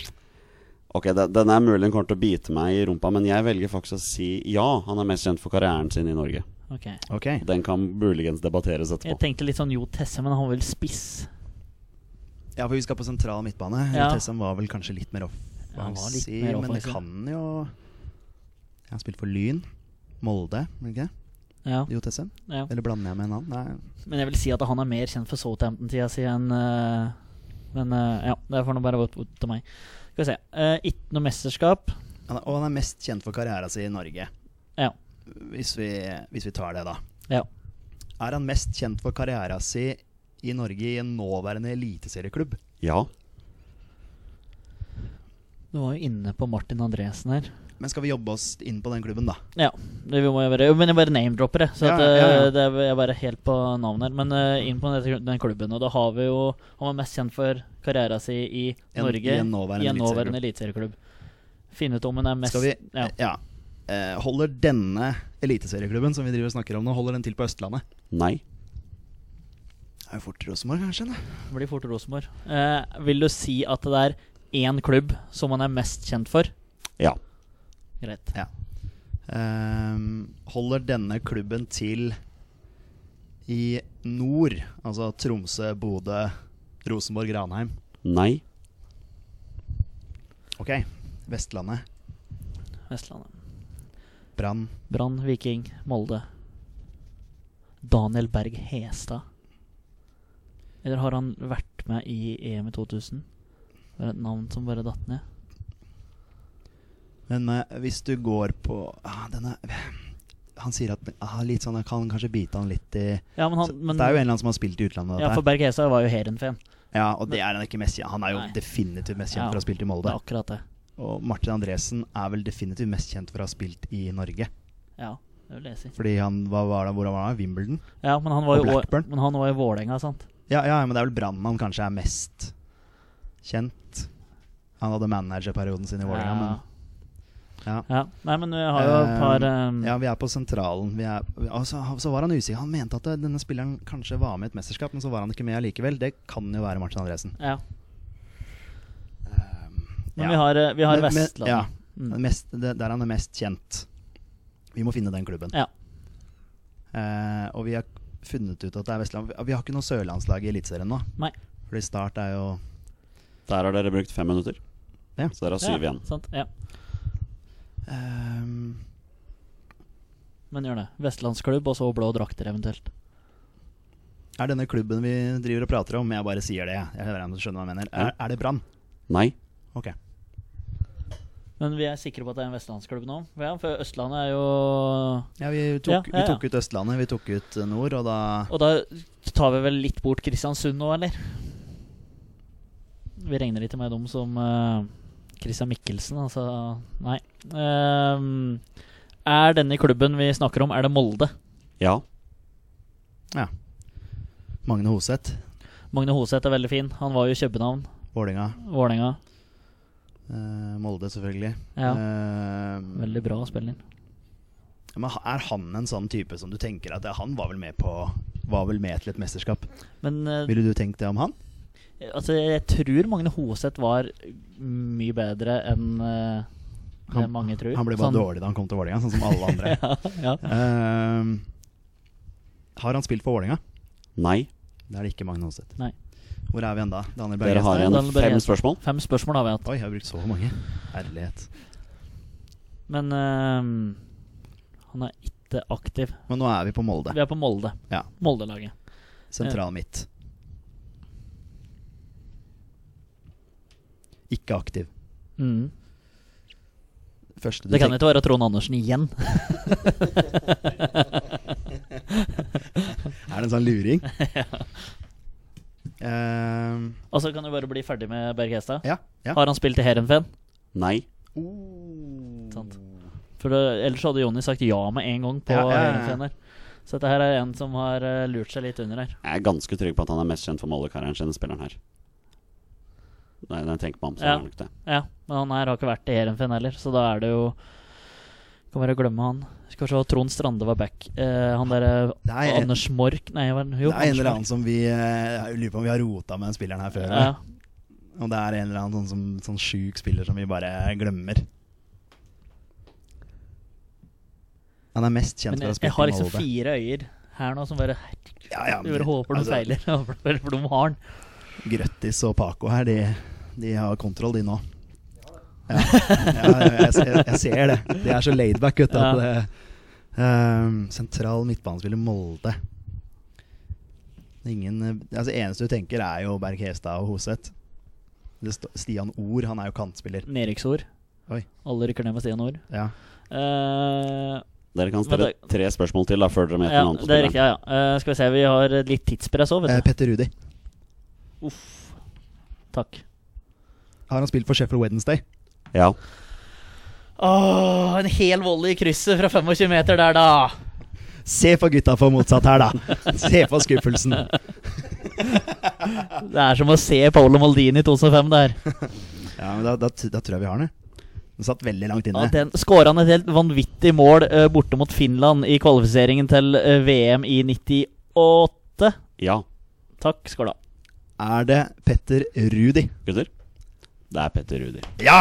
S1: Ok, de- denne er mulig den kommer til å bite meg i rumpa, men jeg velger faktisk å si ja. Han er mest kjent for karrieren sin i Norge.
S3: Ok.
S2: Ok.
S1: Den kan muligens debatteres
S3: Jeg
S1: etterpå.
S3: tenkte litt sånn Jo Tesse, men han var vel spiss.
S2: Ja, for vi skal på sentral midtbane.
S3: Ja.
S2: Tessam var vel kanskje litt mer
S3: Ja, han var litt
S2: offensiv,
S3: mer
S2: men det
S3: offensiv.
S2: kan jo Jeg har spilt for Lyn. Molde, men ikke det?
S3: Ja,
S2: Jo Tessam?
S3: ja.
S2: Eller blander jeg med en annen? Nei.
S3: Men jeg vil si at han er mer kjent for Southampton-tida si enn eh, Men eh, ja, det får nå bare gå opp til meg. Skal vi se. Eh, ikke noe mesterskap.
S2: Han er, og han er mest kjent for karriera si i Norge.
S3: Ja.
S2: Hvis vi, hvis vi tar det, da.
S3: Ja.
S2: Er han mest kjent for karriera si i Norge i en nåværende eliteserieklubb?
S1: Ja.
S3: Du var jo inne på Martin Andresen her.
S2: Men skal vi jobbe oss inn på den klubben, da?
S3: Ja, det vi må jo være, jo, men jeg bare name-dropper, jeg. Så
S2: Ja,
S3: at, eh,
S2: ja, ja.
S3: Det er, jeg er bare helt på navnet her. Men eh, inn på den, den klubben, og da har vi jo Han var mest kjent for karriera si i
S2: En-
S3: Norge.
S2: i en nåværende
S3: i en nåværende eliteserieklubb. Finne ut om hun er mest
S2: Skal vi
S3: ja.
S2: Ja. Eh, Holder denne eliteserieklubben som vi driver og snakker om nå, holder den til på Østlandet?
S1: Nei.
S2: Det er jo fort Rosenborg, kanskje? Da.
S3: Blir fort Rosenborg. Eh, vil du si at det er én klubb som han er mest kjent for?
S1: Ja.
S3: Greit.
S2: Ehm, holder denne klubben til i nord? Altså Tromsø, Bodø, Rosenborg, Ranheim.
S1: Nei.
S2: Ok, Vestlandet.
S3: Vestlandet.
S2: Brann.
S3: Brann, Viking, Molde. Daniel Berg Hestad. Eller har han vært med i EM i 2000? Det er et navn som bare datt ned.
S2: Men eh, hvis du går på ah, denne, Han sier at ah, litt sånn, jeg kan kanskje bite han litt i
S3: Ja, men han
S2: Så
S3: men,
S2: Det er jo en eller annen som har spilt i utlandet.
S3: Ja,
S2: dette
S3: for
S2: her.
S3: Berg Hestad var jo Heerenveen.
S2: ja, og det er han ikke mest kjent Han er jo
S3: Nei.
S2: definitivt mest kjent
S3: Ja.
S2: for å ha spilt i
S3: Det er
S2: Molde.
S3: akkurat det.
S2: Og Martin Andresen er vel definitivt mest kjent for å ha spilt i Norge.
S3: Ja, det vil jeg si.
S2: Fordi han hva var det, hvor var han? Wimbledon?
S3: Ja, men han var
S2: Og
S3: jo
S2: Blackburn.
S3: men han var i Vålerenga, sant?
S2: Ja, ja, men det er vel Brann han kanskje er mest kjent. Han hadde managerperioden sin i Vålerenga,
S3: ja.
S2: men ja. Eh,
S3: ja. Nei, men vi har jo et par um,
S2: Ja, vi er på sentralen. Vi er, og så, så var han usikker. Han mente at eh, denne spilleren kanskje var med i et mesterskap, men så var han ikke med allikevel. Det kan jo være Martin Andresen.
S3: ja. Men
S2: Ja.
S3: vi har, eh, vi har
S2: Men- men-
S3: Vestlandet.
S2: Ja,
S3: Mm.
S2: Den Mest, det, der han er mest kjent. Vi må finne den klubben.
S3: Ja.
S2: Eh, og vi har funnet ut at det er Vestland. Vi- Vi har ikke noe sørlandslag i Eliteserien nå.
S3: Nei.
S2: Fordi Start er jo
S1: Der har dere brukt fem minutter.
S2: Ja.
S1: Så dere har syv
S3: ja,
S1: igjen.
S3: sant? Ja.
S2: ehm,
S3: Men gjør det. Vestlandsklubb, og så blå drakter eventuelt.
S2: Er denne klubben vi driver og prater om Jeg bare sier det, jeg. jeg hører om du skjønner hva jeg mener.
S1: Ja.
S2: Er, er det Brann?
S1: Nei.
S2: Ok.
S3: Men vi er sikre på at det er en vestlandsklubb nå? Ja, for Østlandet er jo
S2: Ja, vi
S3: Ja,
S2: tok,
S3: ja, ja.
S2: vi tok ut Østlandet, vi tok ut eh, Nord, og da
S3: Og da tar vi vel litt bort Kristiansund nå, eller? Vi regner ikke med dem som eh, Christian Mikkelsen, altså Nei. Ehm, er denne klubben vi snakker om, er det Molde?
S1: Ja.
S2: Magne Hoseth,
S3: Magne Hoseth er veldig fin. Han var jo i København.
S2: Vålinga,
S3: Vålerenga.
S2: eh, Molde selvfølgelig.
S3: Ja.
S2: Ehm,
S3: Veldig bra spiller.
S2: Men ha- er han en sånn type som du tenker at ja, han var vel med på Var vel med til et mesterskap?
S3: Men eh,
S2: Ville du tenkt det om han?
S3: altså, jeg tror Magne Hoseth var mye bedre enn eh, det
S2: Han-
S3: mange tror.
S2: Han ble bare
S3: Sånn-
S2: dårlig da han kom til Vålerenga, sånn som alle andre.
S3: ja, ja.
S2: Ehm, har han spilt for Vålerenga?
S1: Nei.
S2: Det er det ikke Magne Hoseth.
S3: Nei.
S2: Hvor er vi enda? Daniel Berg
S1: Dere har
S2: Hestad?
S1: igjen
S3: Daniel Berg
S1: fem
S3: Hestad.
S1: spørsmål.
S3: Fem spørsmål har vi hatt.
S2: Oi, jeg har brukt så mange. Herlighet.
S3: Men ehm, han er ikke aktiv.
S2: Men nå er vi på Molde.
S3: Vi er på Molde.
S2: Ja.
S3: Moldelaget.
S2: Sentral midt. Ikke aktiv.
S3: Mm.
S2: Første du
S3: Det kan
S2: tenker
S3: ikke være Trond Andersen igjen.
S2: Er det en sånn luring? Ehm,
S3: Og så kan du bare bli ferdig med Berg Hestad.
S2: ja. ja.
S3: Har han spilt i Heerenveen?
S1: Nei.
S2: oh.
S3: Sant. For det- ellers hadde Jonny sagt ja med en gang på
S2: Ja,
S3: ja,
S2: ja, ja, ja.
S3: her. Så dette her er en som har eh, lurt seg litt under her.
S1: Jeg er ganske trygg på at han er mest kjent for Molde-karrieren sin, spilleren her. Nei, når jeg tenker meg om, så
S3: Ja.
S1: er det nok det.
S3: Ja, Men han her har ikke vært i Heerenveen heller, så da er det jo Kan bare glemme han. Skal vi se, Trond Strande var back. Eh, han derre
S2: Det er, en,
S3: Anders Mork Nei, hva er den? jo,
S2: det er en
S3: Anders
S2: eller
S3: Mork.
S2: annen som vi eh, Jeg lurer på om vi har rota med den spilleren her før.
S3: Ja.
S2: Og det er en eller annen sånn, som, sånn sjuk spiller som vi bare glemmer. Han er mest kjent
S3: Men
S2: for å
S3: jeg,
S2: ha spilt
S3: har
S2: i
S3: liksom
S2: Molde.
S3: fire øyer her nå som bare
S2: Ja, ja,
S3: Du bare håper de
S2: altså,
S3: feiler. Håper- For de har den.
S2: Grøttis og Paco her, de, de har kontroll, de nå. Ja, ja jeg, jeg, jeg ser det. De er så laidback, vet du. at det- Ehm, sentral midtbanespiller Molde. Ingen eh, Altså eneste du tenker, er jo Berg Hestad og Hoseth. Det sto- Stian Or, han er jo kantspiller.
S3: Neriksord.
S2: Oi.
S3: Alle rykker ned med Stian Ord.
S2: Ja.
S3: Eh,
S1: Dere kan stille
S3: Men
S1: tre spørsmål til da før dere meter
S3: Ja,
S1: navnet på
S3: det er
S1: spilleren.
S3: riktig, ja, ja. Eh, skal vi se, vi har litt tidspress òg,
S2: Eh,
S3: vet du.
S2: Petter Rudi.
S3: Uff. Takk.
S2: Har han spilt for Sheffield Wednesday?
S1: Ja.
S3: Åh, en hel volley i krysset fra 25 meter der, da.
S2: Se for gutta på motsatt her, da! Se for skuffelsen.
S3: Det er som å se Paolo Maldini i 2005 der.
S2: Ja, men da, da, t- da tror jeg vi har den. jeg. Den satt veldig langt
S3: Ja,
S2: inne.
S3: den skåra han et helt vanvittig mål eh, borte mot Finland i kvalifiseringen til eh, VM i 98.
S1: Ja,
S3: Takk skal du ha.
S2: Er det Petter Rudi?
S1: gutter? Det er Petter Rudi.
S2: Ja!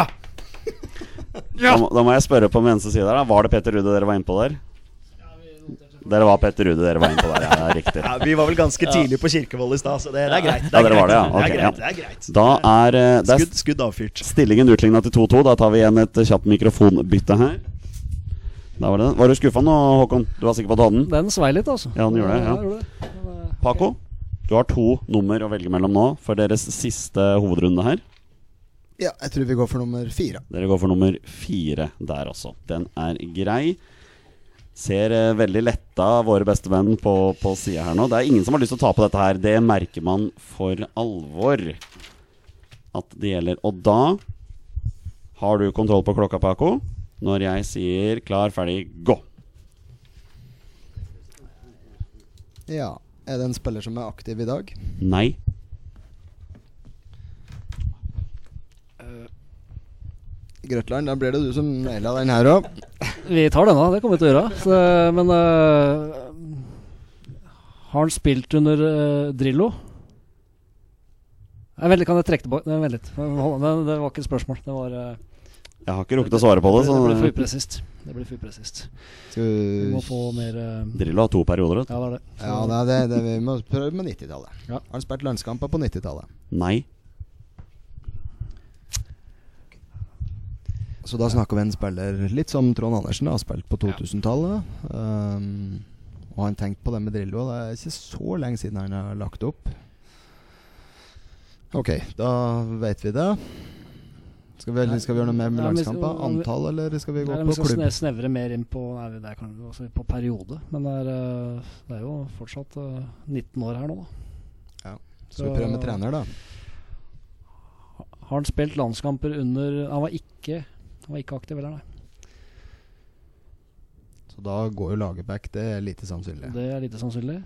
S1: Da, må- da må jeg spørre på venstre side her, da. Var det Petter Rudi dere var inne på der? Dere var Petter Rudi dere var inne på der, ja. det er Riktig.
S2: ja! Vi var vel ganske tidlig på Kirkevold i stad, så det, det er greit.
S1: Ja, dere var det, ja.
S2: det,
S1: Ok,
S2: er
S1: ja.
S2: greit. det er greit.
S1: Da er, eh, det er
S2: Skudd, skudd avfyrt.
S1: Stillingen utligna til 2-2. Da tar vi igjen et eh, kjapt mikrofonbytte her. Da var, det. den. var du skuffa nå, Håkon? Du var sikker på at du hadde den?
S5: Den svei litt, altså.
S1: Ja, den gjorde det, ja.
S5: gjorde det.
S1: Paco, du har to nummer å velge mellom nå for deres siste hovedrunde her.
S4: Ja, jeg tror vi går for nummer fire.
S1: Dere går for nummer fire der også. Den er grei. Ser eh, veldig letta våre bestevenn på, på sida her nå. Det er ingen som har lyst til å tape dette her. Det merker man for alvor at det gjelder. Og da har du kontroll på klokka, Paco, når jeg sier klar, ferdig, gå.
S4: Ja. Er det en spiller som er aktiv i dag?
S1: Nei.
S4: Grøtland, da blir det du som naila den her òg.
S5: Vi tar denne, det kommer vi til å gjøre. Så, men eh, Har han spilt under eh, Drillo? Nei, vent litt, kan jeg trekke tilbake Nei, Vent litt. Hold- Det, det var ikke et spørsmål. Det var eh,
S1: Jeg har ikke rukket å svare på det.
S5: det,
S1: Så
S5: ble for upresist. Det ble for upresist. Vi må få mer eh,
S1: Drillo har to perioder. vet du.
S5: Ja, det er det.
S4: Ja, det er det, det vi må prøve med 90-tallet.
S5: Ja.
S4: Har han spilt landskamper på 90-tallet?
S1: Nei.
S4: Så da snakker vi en spiller litt som Trond Andersen da, har spilt på 2000-tallet. Um, og han tenkte på det med Drillo. Det er ikke så lenge siden han har lagt opp. Ok, da vet vi det. Skal vi, skal vi gjøre noe mer med
S5: Ja, men vi skal-
S4: landskamper? Antall, eller skal vi
S5: Nei,
S4: gå
S5: men vi
S4: på
S5: skal
S4: klubb?
S5: sne- snevre mer inn på Nei, det er kanskje også på periode, men det er, eh, det er jo fortsatt eh, 19 år her nå, da.
S4: Skal vi prøve med trener, da?
S5: Har han spilt landskamper under Han var ikke, han var ikke aktiv heller, nei.
S4: Så da går jo Lagerbäck. Det er lite sannsynlig.
S5: Det er lite sannsynlig.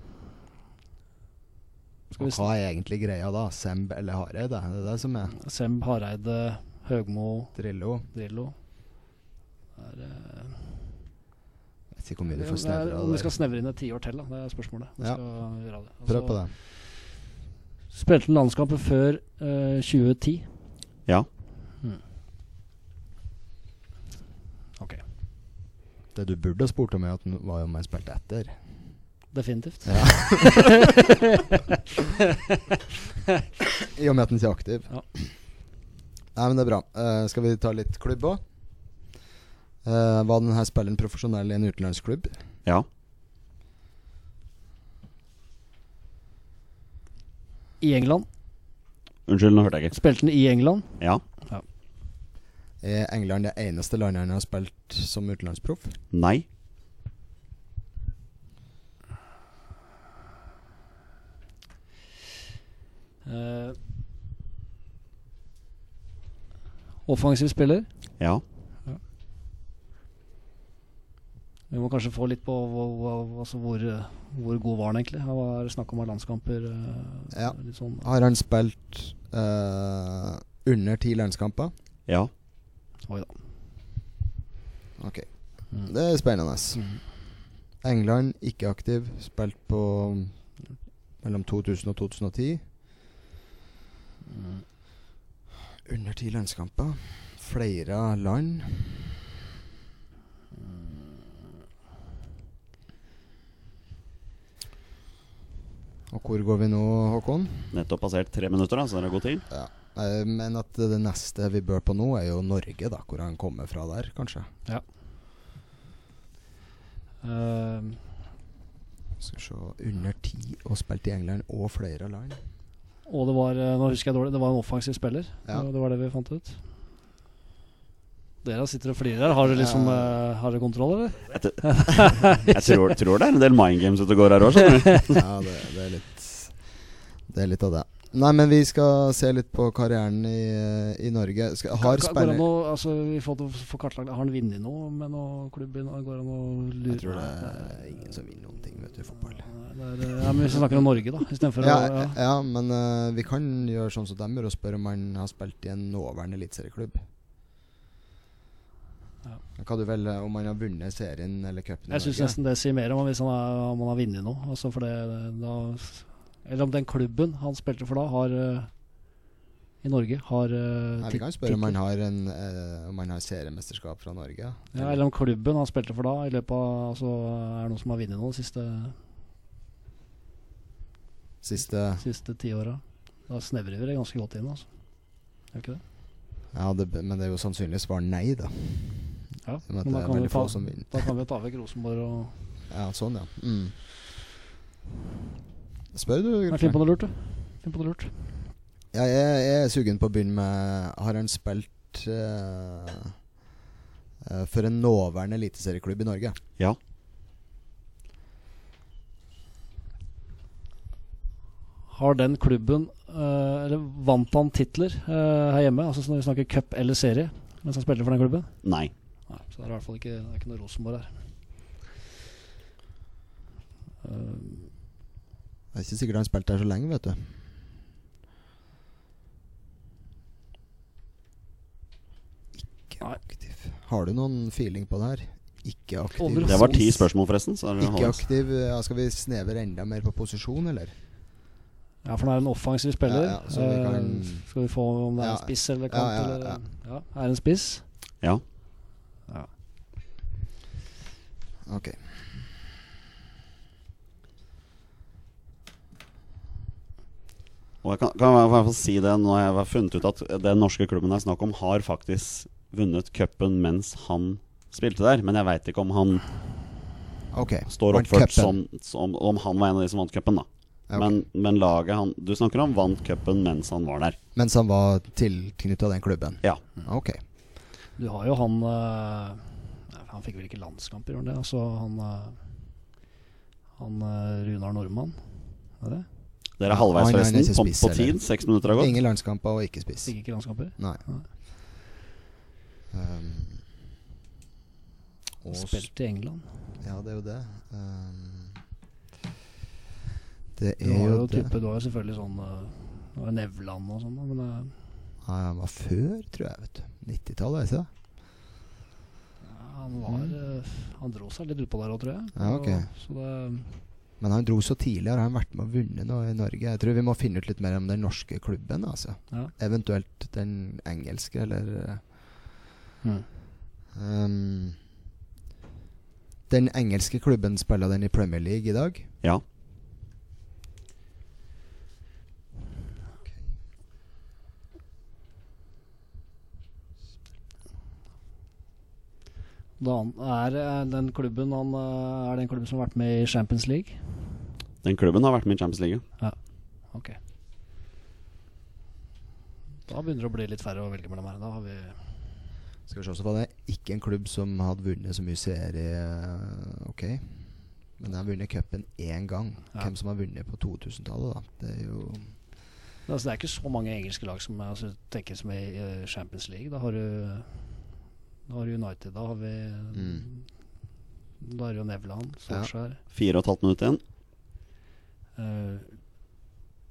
S5: Skal vi
S4: Og hva er egentlig greia da? Semb eller Hareide? Det er det som er
S5: Semb, Hareide, Høgmo,
S4: Drillo.
S5: Drillo. Det er,
S4: Jeg vet ikke hvor mye du
S5: eh,
S4: får
S5: det er,
S4: snevra
S5: om vi
S4: det.
S5: skal snevre inn et tiår til, da. Det er spørsmålet. Vi
S4: Ja.
S5: skal gjøre det. Altså,
S4: Prøv på det.
S5: Spilte han landskamper før eh, 2010?
S1: Ja.
S5: Hmm. Ok.
S4: Det du burde ha spurt om, er at den var jo om han spilte etter.
S5: Definitivt.
S4: I og med at den ikke er aktiv.
S5: Ja.
S4: Nei, men det er bra. Eh, skal vi ta litt klubb òg? Uh, var denne spilleren profesjonell i en utenlandsklubb?
S1: Ja.
S5: I England?
S1: Unnskyld, nå hørte jeg ikke.
S5: Spilte han i England?
S1: Ja.
S4: Er England det eneste landet han har spilt som utenlandsproff?
S1: Nei.
S5: Eh, offensiv spiller?
S1: Ja.
S5: Vi må kanskje få litt på hva, hva, altså hvor, eh, hvor god var han egentlig? Han var snakk om av landskamper. eh,
S4: Ja.
S5: Litt sånn.
S4: Har han spilt eh, under ti landskamper?
S1: Ja.
S5: Oi da.
S4: Ok.
S5: Mm.
S4: Det er spennende. England ikke aktiv. Spilt på mm, mellom 2000 og 2010. Under ti landskamper. Flere land. Mm. Og hvor går vi nå, Håkon?
S1: Nettopp passert tre minutter, da, så dere har god tid.
S4: Eh, Men at det neste vi bør på nå, er jo Norge, da. Hvor han kommer fra der, kanskje.
S5: Eh,
S4: Skal se Under ti og spilt i England og flere land.
S5: og det var eh, nå husker jeg dårlig, det var en offensiv spiller.
S4: Ja.
S5: Det, det var det vi fant ut. Dere sitter og flirer her. Har dere liksom,
S4: Ja.
S5: eh, har dere kontroll, eller?
S1: Jeg, t- jeg tror, tror det er en del mind games ute og går her òg, skjønner du.
S4: Ja, det, det er litt Det er litt av det. Nei, men vi skal se litt på karrieren i, i Norge. Skal, har
S5: Ka- går det an
S4: spiller...
S5: å- altså, vi får, får kartlagt, har han vunnet noe med noen klubb? i Nor- Går det an å lure
S4: Jeg tror det er ingen som vinner noen ting, vet du, i fotball.
S5: Nei, det er, eh, ja, men Hvis vi snakker om Norge, da, istedenfor
S4: Ja,
S5: å ja.
S4: ja, men eh, vi kan gjøre sånn som dem gjør, og spørre om han har spilt i en nåværende eliteserieklubb.
S5: Ja.
S4: Hva du velge om han har vunnet serien eller cupen? i
S5: Jeg syns
S4: Norge?
S5: nesten det sier mer om han hvis han, er, om han har vunnet noe. Altså for det, da, eller om den klubben han spilte for da, har eh, i Norge har eh,
S4: Nei,
S5: tit-
S4: vi kan spørre om
S5: tittel.
S4: han har, en, eh, om han har seriemesterskap fra Norge.
S5: ja, Eller om klubben han spilte for da, i løpet av altså, Er det noen som har vunnet noe de siste,
S4: Siste
S5: siste ti åra? Da snevrer vi det ganske godt inn, altså. Er det ikke det?
S4: Ja, det, men det er jo sannsynlig svar nei, da.
S5: Ja.
S4: Men
S5: Men
S4: det
S5: da
S4: er
S5: kan, vi
S4: veldig
S5: ta,
S4: få som vinner.
S5: da kan vi ta vekk Rosenborg og
S4: Ja, sånn, ja. Mm. Spør du,
S5: Nei, Finn
S4: Grøtland.
S5: på noe lurt, du. Finn på noe lurt.
S4: Ja, jeg, jeg er sugen på å begynne med Har han spilt eh, eh, for en nåværende eliteserieklubb i Norge?
S1: Ja.
S5: Har den klubben eh, Eller vant han titler eh, her hjemme? Altså når vi snakker cup eller serie mens han spilte for den klubben?
S1: Nei.
S5: Nei, så det er i hvert fall ikke, det er ikke noe Rosenborg her. Eh,
S4: Det er ikke sikkert han har spilt der så lenge, vet du. Ikke
S5: Nei.
S4: aktiv. Har du noen feeling på det her? Ikke aktiv.
S5: Overhodet
S1: Det var ti spørsmål, forresten. Så er det
S4: Ikke aktiv. eh, Ja, skal vi snevre enda mer på posisjon, eller?
S5: ja, for det er en offensiv spiller.
S4: Ja, ja, så vi
S5: Eh,
S4: kan-
S5: skal vi få om det er
S4: Ja,
S5: en spiss
S4: ja,
S5: eller kant?
S4: ja,
S5: eller, ja. Er det en spiss?
S1: Ja.
S4: Ok.
S1: Og jeg kan, kan jeg i hvert fall si det når jeg har funnet ut at den norske klubben det er snakk om, har faktisk vunnet cupen mens han spilte der. Men jeg veit ikke om han
S4: Ok.
S1: står
S4: Vant
S1: oppført
S4: cupen.
S1: som, som Om han var en av de som vant cupen, da.
S4: Ja, ok.
S1: Men, men laget han Du snakker om vant cupen mens han var der.
S4: Mens han var tilknytta den klubben?
S1: Ja.
S4: Ok.
S5: Du har jo han eh, nei, Han fikk vel ikke landskamper, gjorde han det? Altså han eh, Han eh, Runar Nordmann, er det?
S1: Dere er halvveis,
S4: Han er
S1: forresten.
S4: ikke
S1: På,
S4: spiss,
S1: på
S4: eller?
S1: tid. Seks minutter har gått.
S4: Ingen landskamper og ikke spiss.
S5: Fikk ikke landskamper?
S4: Nei.
S5: Nei.
S4: Um, og s-
S5: Spilt i England.
S4: Ja, det er jo det. Um, det
S5: Du
S4: er
S5: har
S4: jo
S5: jo
S4: det.
S5: type, du har jo selvfølgelig sånn eh, du har Nevland og sånn, da, men eh,
S4: Nei, han var før, tror jeg. vet du 90-tallet, er det ikke det?
S5: ja, han var eh, Han dro seg litt utpå der òg, tror jeg.
S4: Mm. Ja, ok.
S5: Og- så det
S4: Men han dro så tidlig. Har han vært med og vunnet noe i Norge? Jeg tror vi må finne ut litt mer om den norske klubben. altså
S5: Ja.
S4: Eventuelt den engelske, eller eh, Mm. um, Den engelske klubben spiller den i Premier League i dag.
S1: Ja.
S5: da han, er eh, den klubben han eh, Er den klubben som har vært med i Champions League?
S1: Den klubben har vært med i Champions League.
S5: Ok. Da begynner det å bli litt færre å velge mellom her. Da har vi
S4: Skal vi se, så var det ikke en klubb som hadde vunnet så mye serie, eh, ok. Men de har vunnet cupen én gang.
S5: Ja.
S4: Hvem som har vunnet på 2000-tallet, da. Det er jo
S5: Altså, det er ikke så mange engelske lag som altså, tenkes med i eh, Champions League. Da har du, da har du United, da har vi
S4: Mm.
S5: Da er det jo Nevland, Solskjær,
S1: Fire og et halvt minutt igjen.
S5: eh,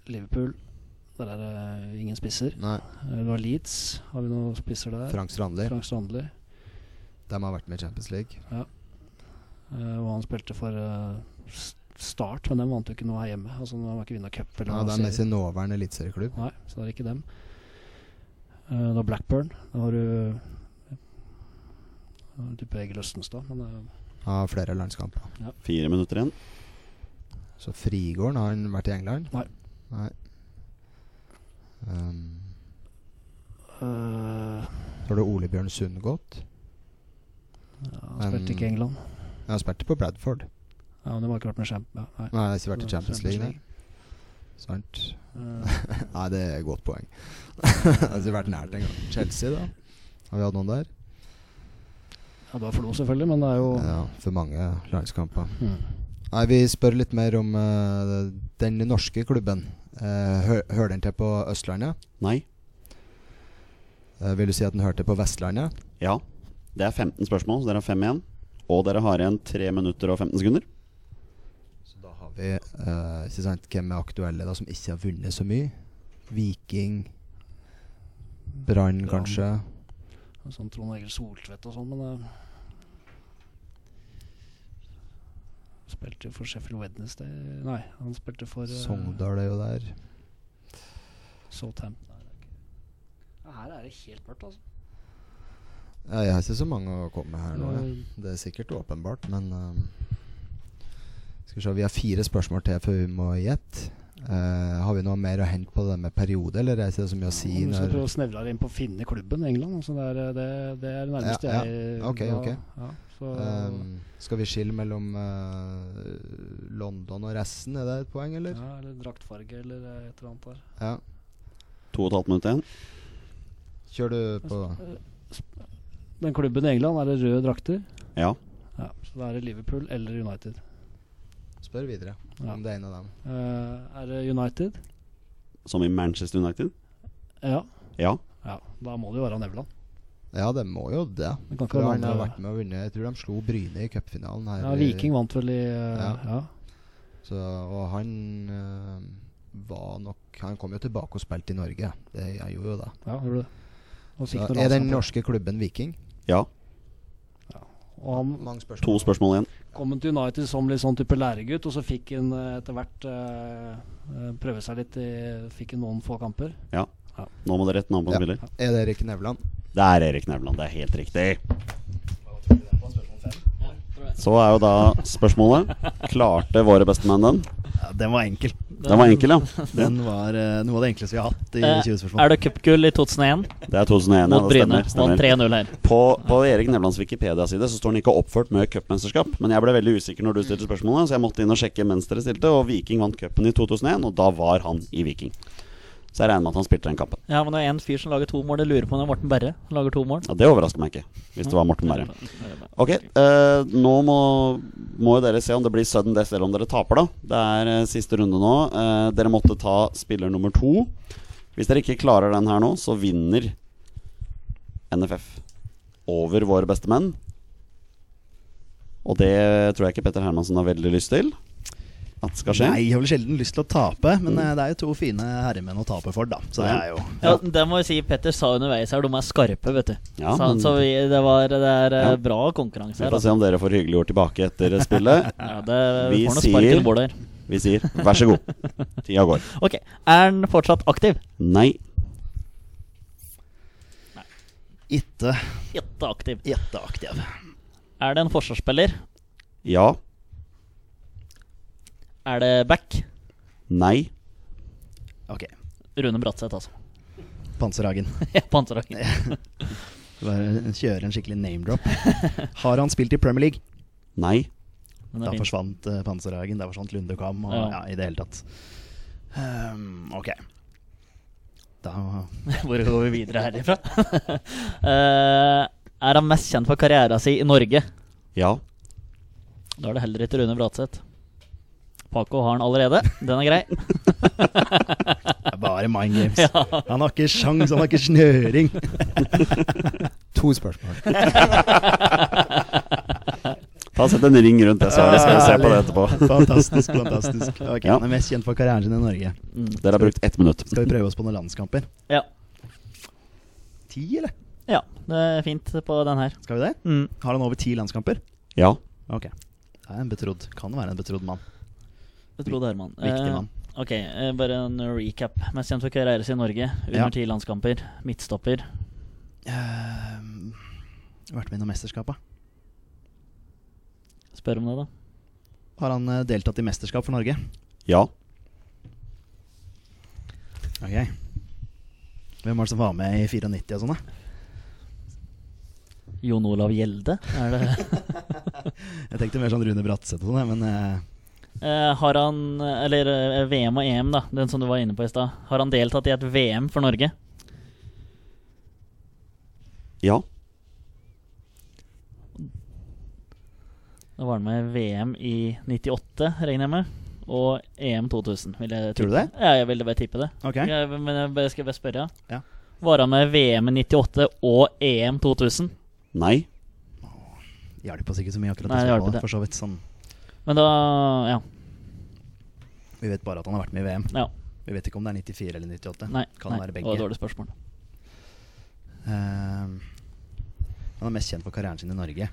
S5: Liverpool. Der er det ingen spisser.
S4: Nei,
S5: Eh, Du har Leeds, har vi noen spisser der?
S4: Frank Strandli.
S5: Frank Strandli.
S4: De har vært med i Champions League.
S5: eh, og han spilte for eh, S- Start, men den vant jo ikke noe her hjemme. Altså, Han har ikke vunnet cup eller
S4: Ja,
S5: noe
S4: det er
S5: serie.
S4: med sin nåværende eliteserieklubb.
S5: Nei, så det er ikke dem. Eh, da Blackburn. Da har du uh, type Egil Østenstad. Men eh, det,
S4: Har flere landskamper.
S1: Fire minutter igjen.
S4: Så Frigården, har han vært i England?
S5: Nei.
S4: Nei. Um,
S5: eh,
S4: så har du Ole Bjørn Sundgodt.
S5: ja, han spilte ikke i
S4: Men-
S5: England.
S4: Ja, Han spilte på Bradford.
S5: Ja, men det må ikke ha vært med Champ... Ja, nei.
S4: Nei, han har ikke vært i
S5: Det var
S4: Champions League, nei. Sant.
S5: Eh,
S4: Nei, det er et godt poeng. det har ikke vært nært engang. Chelsea, da. Har vi hatt noen der?
S5: Ja, det var Flo, selvfølgelig, men det er jo
S4: Ja, for mange landskamper.
S5: Mm.
S4: Nei, vi spør litt mer om eh, den norske klubben. Eh, hø hører den til på Østlandet?
S1: Nei.
S4: Eh, vil du si at den hører til på Vestlandet?
S1: Ja. Det er 15 spørsmål, så dere har fem igjen. Og dere har igjen 3 minutter og 15 sekunder.
S4: Så da har vi eh, ikke sant, Hvem er aktuelle da som ikke har vunnet så mye? Viking, Brann
S5: Brann.
S4: kanskje.
S5: sånn Trond Egil Soltvedt og sånn, men det Spilte jo for Sheffield Wednesday Nei, han spilte for eh,
S4: Sogndal er jo der.
S5: Southampton. Nei, det er ikke- Her er det helt mørkt, altså.
S4: Ja, jeg har ikke så mange å komme med her nå. Jeg.
S5: Eh,
S4: Det er sikkert åpenbart, men ehm, Skal vi se, vi har fire spørsmål til før vi må gjette. Eh, har vi noe mer å hente på det med periode, eller er det ikke det så mye å si?
S5: Om du skal
S4: Når,
S5: prøve å snevre deg inn på å finne klubben i England. Altså det, er, det, det er det nærmeste
S4: Ja, ja.
S5: jeg
S4: Ok,
S5: da-
S4: ok.
S5: Ja, så,
S4: ehm, skal vi skille mellom eh, London og resten? Er det et poeng, eller?
S5: ja, eller draktfarge eller et eller annet der.
S4: Ja.
S1: To og et halvt minutt igjen.
S4: Kjør du på, da.
S5: Den klubben i England, er det røde drakter?
S1: Ja.
S5: Ja, så da er det Liverpool eller United.
S4: Spør videre
S5: Ja.
S4: om det er en av dem.
S5: Eh, er det United?
S1: Som i Manchester United.
S5: Ja.
S1: Ja.
S5: ja. Da må det jo være Nevland.
S4: Ja, det må jo det.
S5: Det kan
S4: For
S5: ikke være
S4: han
S5: noen
S4: har
S5: andre.
S4: vært med å vinne Jeg tror de slo Bryne i cupfinalen her.
S5: Ja,
S4: i-
S5: Viking vant vel i eh,
S4: Ja.
S5: ja.
S4: Så, og han eh, var nok Han kom jo tilbake og spilte i Norge. Det jeg gjorde jo det.
S5: ja, gjorde det. Og
S4: Så
S5: fikk noen
S4: er den
S5: landskamper.
S4: norske klubben Viking?
S1: Ja.
S5: Og han
S4: Mange
S1: To spørsmål igjen.
S5: kom han til United som litt sånn type læregutt, og så fikk han eh, etter hvert eh, eh, prøve seg litt i Fikk han noen få kamper.
S1: Nå må dere rette navn på en
S4: Ja.
S1: spiller.
S4: Er det Erik Nevland?
S1: Det er Erik Nevland. Det er helt riktig. Så er jo da spørsmålet Klarte våre bestemenn den?
S2: Ja, den var enkel.
S1: Den var enkel, ja.
S2: Den var eh, noe av det enkleste vi har hatt i
S3: Eh,
S2: 20
S3: Er
S2: spørsmål.
S3: det cupgull i 2001
S1: Det er 2001.
S3: mot
S1: Ja, det
S3: Bryne?
S1: stemmer. stemmer.
S3: Vant 3-0 her.
S1: På, på Erik Nevlands Wikipedia-side så står han ikke oppført med cupmesterskap. Men jeg ble veldig usikker når du stilte spørsmålet, så jeg måtte inn og sjekke mens dere stilte. Og Viking vant cupen i 2001, og da var han i Viking. Så jeg regner med at han spilte den kampen.
S3: Ja, men det er en fyr som lager to mål. Jeg lurer på om det er Morten Berre. Han lager to mål.
S1: Ja, Det overrasker meg ikke, hvis det var Morten Berre. Ok, eh, nå må, må jo dere se om det blir sudden death eller om dere taper, da. Det er eh, siste runde nå. Eh, dere måtte ta spiller nummer to. Hvis dere ikke klarer den her nå, så vinner NFF over våre beste menn. Og det tror jeg ikke Petter Hermansen har veldig lyst til at skal skje.
S2: Nei, jeg har vel sjelden lyst til å tape, men eh, det er jo to fine herremenn å tape for, da. Så det er jo
S3: Ja, det må jeg si. Petter sa underveis her, de er skarpe, vet du.
S1: Ja,
S3: så
S1: men-
S3: så vi, det, var, det er eh,
S1: Ja.
S3: bra konkurranse
S1: Vi
S3: her.
S1: får se
S3: Altså.
S1: om dere får hyggelige ord tilbake etter spillet.
S3: Ja, det vi
S1: Vi
S3: får noe spark
S1: sier-
S3: til bordet her.
S1: Vi sier vær så god. Tida går.
S3: Ok, Er han fortsatt aktiv?
S1: Nei.
S2: ikke
S3: Jetteaktiv.
S2: gjetteaktiv.
S3: Er det en forsvarsspiller?
S1: Ja.
S3: Er det back?
S1: Nei.
S2: Ok,
S3: Rune Bratseth, altså.
S2: Panserhagen.
S3: Ja, Panserhagen.
S2: Bare Kjøre en skikkelig name-drop. Har han spilt i Premier League?
S1: Nei.
S3: Den er
S2: Da
S3: fin.
S2: forsvant eh, Panserhagen, da forsvant Lundekam, og
S3: Ja.
S2: ja, i det hele tatt. Ehm, ok. Da
S3: Hvor går vi videre herifra? Eh, er han mest kjent for karriera si i Norge?
S1: Ja.
S3: Da er det heller ikke Rune Bratseth. Paco har han allerede. Den er grei.
S2: er bare mind games.
S3: Ja.
S2: Han har ikke sjans, han har ikke snøring.
S4: To spørsmål.
S1: Ta og Sett en ring rundt det svaret, skal vi se på det etterpå.
S2: Fantastisk, fantastisk. Ok,
S1: Ja.
S2: Han er mest kjent for karrieren sin i Norge.
S3: Mm.
S1: Dere har brukt ett minutt.
S2: Skal vi prøve oss på noen landskamper?
S3: ja.
S2: Ti, eller?
S3: Ja, det er fint på den her.
S2: Skal vi det?
S3: Mm.
S2: Har han over ti landskamper?
S1: Ja.
S2: Ok. Det er en betrodd. Kan være en betrodd mann.
S3: Jeg tror det er mann.
S2: Viktig
S3: Eh,
S2: mann.
S3: ok, eh, bare en recap. Mest kjent for karriera si i Norge.
S2: Ja.
S3: Under ti landskamper. Midtstopper.
S2: Ehm, vært med i noen mesterskap, da?
S3: Spør om det, da.
S2: Har han eh, deltatt i mesterskap for Norge?
S1: Ja.
S2: Ok Hvem var det som var med i 94 og sånn, da?
S3: Jon Olav Gjelde? Er det
S2: Jeg tenkte mer sånn Rune Bratseth og sånn, jeg, men eh,
S3: Eh, har han Eller eh, VM og EM, da. Den som du var inne på i stad. Har han deltatt i et VM for Norge?
S1: Ja.
S3: Da var han med i VM i 98, regner jeg med. Og E EM 2000, vil jeg
S2: Tror du
S3: tippe.
S2: det?
S3: Ja, jeg ville bare tippe det.
S2: Ok.
S3: Jeg, men jeg bare- skal bare spørre.
S2: Ja.
S3: Var han med i VM i 98 og EM 2000?
S1: Nei.
S2: Hjalp oss ikke så mye
S3: Nei,
S2: akkurat å
S3: det
S2: svare
S3: hjalp
S2: på det,
S3: ikke.
S2: for så vidt. Sånn,
S3: Men da Ja.
S2: vi vet bare at han har vært med i VM.
S3: ja.
S2: Vi vet ikke om det er 94 eller 98.
S3: Nei,
S2: kan
S3: nei,
S2: være
S3: det
S2: begge.
S3: var et dårlig spørsmål.
S2: Ehm, han er mest kjent for karrieren sin i Norge.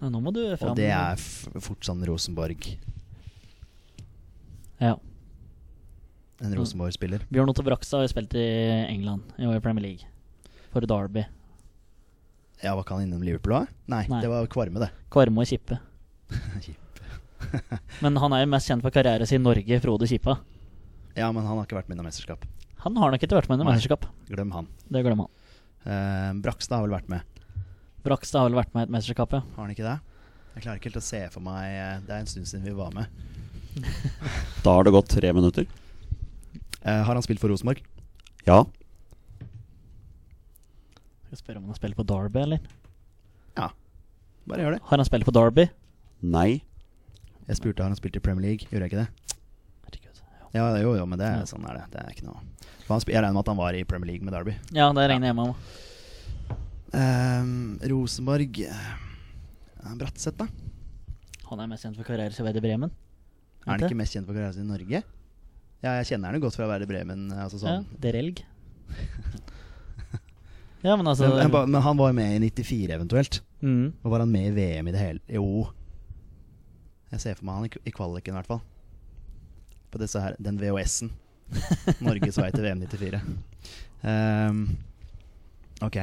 S3: Ja, nå må du fram.
S2: Og det er f fort sånn Rosenborg.
S3: ja.
S2: En Rosenborg-spiller.
S3: Bjørn Otto Brakstad har jo spilt i England, i år i Premier League. For Derby.
S2: Ja, var ikke han innom Liverpool òg? Nei,
S3: Nei.
S2: det var Kvarme, det.
S3: Kvarmo og Kippe. Men han er jo mest kjent for karrieren sin i Norge, Frode Kippa.
S2: Ja, men han har ikke vært med i noe mesterskap.
S3: Han har nok ikke vært med i noe
S2: Nei.
S3: mesterskap.
S2: Glem han.
S3: Det glemmer han.
S2: Ehm, Brakstad har vel vært med,
S3: Brakstad har vel vært med i et mesterskap, ja.
S2: har han ikke det? Jeg klarer ikke helt å se for meg eh, Det er en stund siden vi var med.
S1: Da har det gått tre minutter.
S2: Eh, har han spilt for Rosenborg?
S1: Ja.
S3: Skal spørre om han har spilt på Derby, eller?
S2: Bare gjør det.
S3: Har han spilt på Derby?
S1: Nei.
S2: Jeg spurte har han spilt i Premier League, gjorde jeg ikke det?
S3: Herregud. Ja,
S2: Ja, jo, jo, men det
S3: Ja.
S2: er sånn er det. Det er ikke noe For han sp- Jeg regner med at han var i Premier League med Derby.
S3: ja det regner jeg med. han.
S2: Ehm, Rosenborg eh, Bratseth, da?
S3: Han er mest kjent for karrieren sin i Werder Bremen.
S2: Er han ikke mest kjent for karrieren sin i Norge? Ja, jeg kjenner han jo godt fra å være i Bremen. eh, Altså
S3: sånn?
S2: sånn.
S3: Ja, Derelg. ja, men altså
S2: men, jeg ba- men han var jo med i 94 eventuelt.
S3: mm,
S2: Og var han med i VM i det hele Jo. Jeg ser for meg han i, k- i kvaliken, i hvert fall. På disse her, den VHS-en. Norges vei til VM 94. Ehm, ok.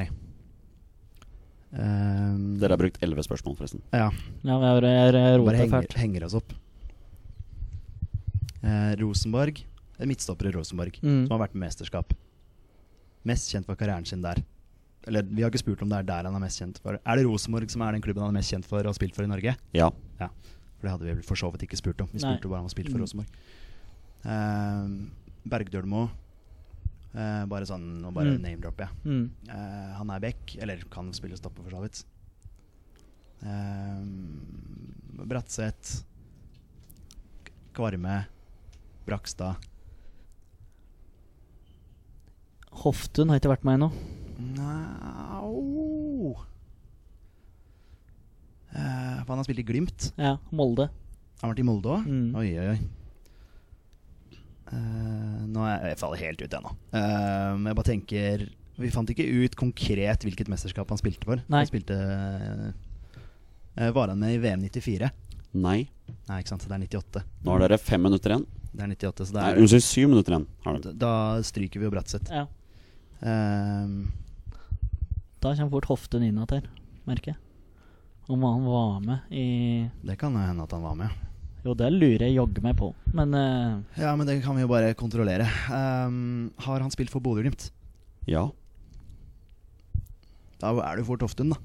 S2: Ehm,
S1: Dere har brukt elleve spørsmål, forresten.
S2: Ja.
S3: ja, men jeg, jeg, jeg
S2: Bare
S3: roter
S2: henger,
S3: fælt.
S2: henger oss opp. Eh, Rosenborg. En midtstopper i Rosenborg
S3: Mm.
S2: som har vært med i mesterskap. Mest kjent for karrieren sin der. Eller vi har ikke spurt om det er der han er mest kjent for. Er det Rosenborg som er den klubben han er mest kjent for og har spilt for i Norge?
S1: Ja.
S2: For det hadde vi vel for så vidt ikke spurt om. Vi
S3: Nei.
S2: spurte bare om han spilte
S3: Mm.
S2: for Rosenborg. Eh, Bergdølmo. Eh, bare sånn Nå bare
S3: Mm.
S2: name-dropper jeg.
S3: Mm.
S2: Eh, han er back, eller kan spille stopper for så vidt. Eh, Bratseth. Kvarme. Brakstad.
S3: Hoftun har ikke vært med ennå.
S2: Nau Eh, for han har spilt i Glimt.
S3: Ja, Molde.
S2: Han har vært i Molde òg.
S3: Mm.
S2: Oi, oi, oi. Eh, nå er jeg, jeg faller helt ut, jeg nå. Eh, men jeg bare tenker Vi fant ikke ut konkret hvilket mesterskap han spilte for.
S3: Nei.
S2: Han spilte eh, Var han med i VM 94?
S1: Nei.
S2: Nei, ikke sant. Så det er 98.
S1: Nå har dere fem minutter igjen.
S2: Det er 98, så det
S1: Nei,
S2: er
S1: Unnskyld, syv minutter igjen. Har dere.
S2: Da- Da stryker vi jo Bratseth.
S3: Ja.
S2: Eh,
S3: Da kommer fort Hoftun inn igjen, merker jeg. Om han var med i
S2: det kan jo hende at han var med.
S3: Jo, det lurer jeg jaggu meg på, men eh,
S2: Ja, men det kan vi jo bare kontrollere. Eh, har han spilt for Bodø-Glimt?
S1: Ja.
S2: Da er det jo fort Hoftun, da.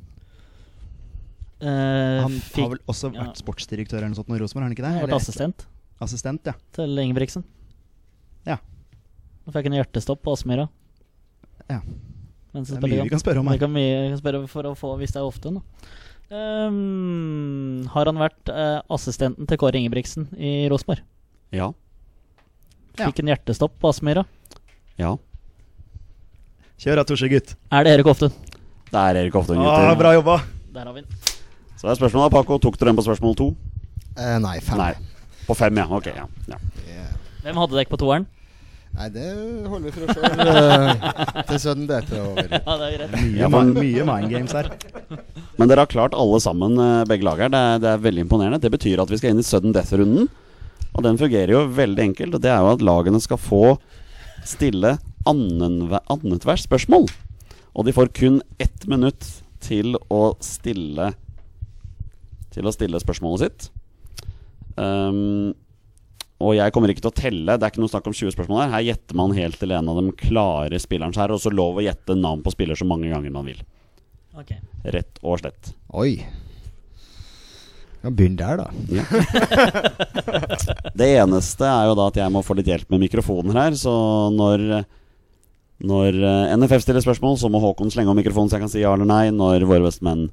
S3: eh,
S2: Han har
S3: fikk
S2: vel også
S3: ja.
S2: vært sportsdirektør eller noe sånt nå i Rosenborg, har han ikke det?
S3: vært
S2: Eller-
S3: assistent
S2: Assistent, ja.
S3: til Ingebrigtsen.
S2: Ja.
S3: Da fikk han hjertestopp på Aspmyra.
S2: Ja.
S3: Mens
S2: Det
S3: han
S2: er mye
S3: spilte
S2: vi kan spørre om
S3: Det
S2: her.
S3: kan vi jeg kan spørre for å få, hvis det er ofte nå. Ehm, har han vært eh, assistenten til Kåre Ingebrigtsen i Rosenborg?
S1: Ja.
S2: Ja.
S3: Fikk en hjertestopp på Aspmyra.
S1: Ja.
S2: Kjør da, Torse, gutt.
S3: Er det Erik Hoftun?
S1: Det er Erik Hoftun,
S2: Ah,
S1: gutter.
S2: bra jobba!
S3: Der har vi den.
S1: Så er spørsmålet, Paco, tok dere den på spørsmål to?
S4: Eh, nei, fem.
S1: Nei. På fem, ja. Ok, ja. ja.
S4: Det-
S3: Hvem hadde dere på toeren?
S4: Nei, det holder vi for oss sjøl eh, til sudden death er over.
S3: Ja, det er greit.
S1: Ja,
S2: Mye,
S1: men-
S2: mi- mye mind games her.
S1: Men dere har klart alle sammen, eh, begge lag her. Det er, det er veldig imponerende. Det betyr at vi skal inn i sudden death-runden. Og den fungerer jo veldig enkelt. Og det er jo at lagene skal få stille annenhver- annethvert spørsmål. Og de får kun ett minutt til å stille Til å stille spørsmålet sitt. Ehm, og jeg kommer ikke til å telle. Det er ikke noe snakk om 20 spørsmål her. Her gjetter man helt til en av dem klarer spilleren her, og så lov å gjette navn på spiller så mange ganger man vil.
S3: Ok.
S1: Rett og slett.
S4: Oi. Ja, Begynn der, da.
S1: Det eneste er jo da at jeg må få litt hjelp med mikrofonen her, så når når eh, NFF stiller spørsmål, så må Håkon slenge om mikrofonen så jeg kan si ja eller nei. Når våre bestemenn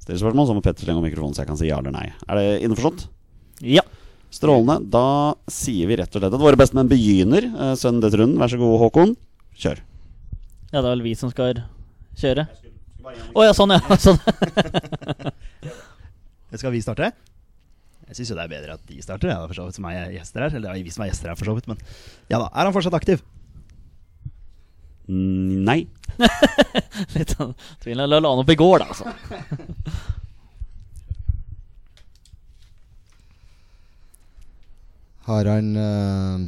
S1: stiller spørsmål, så må Petter slenge opp mikrofonen så jeg kan si ja eller nei. Er det innforstått?
S3: Ja.
S1: Strålende. Da sier vi rett og slett at våre bestemenn begynner eh, sønnen dette runden. Vær så god, Håkon. Kjør.
S3: Ja, det er vel vi som skal kjøre. Å ja, sånn, ja. Sånn.
S2: Skal vi starte? Jeg syns jo det er bedre at de starter, ja, da, for så vidt, som er gjester her. Eller det er vi som er gjester her, for så vidt, men ja da. Er han fortsatt aktiv?
S1: Mm, Nei.
S3: Litt sånn tvil. La la han opp i går, da, altså.
S4: Har han eh,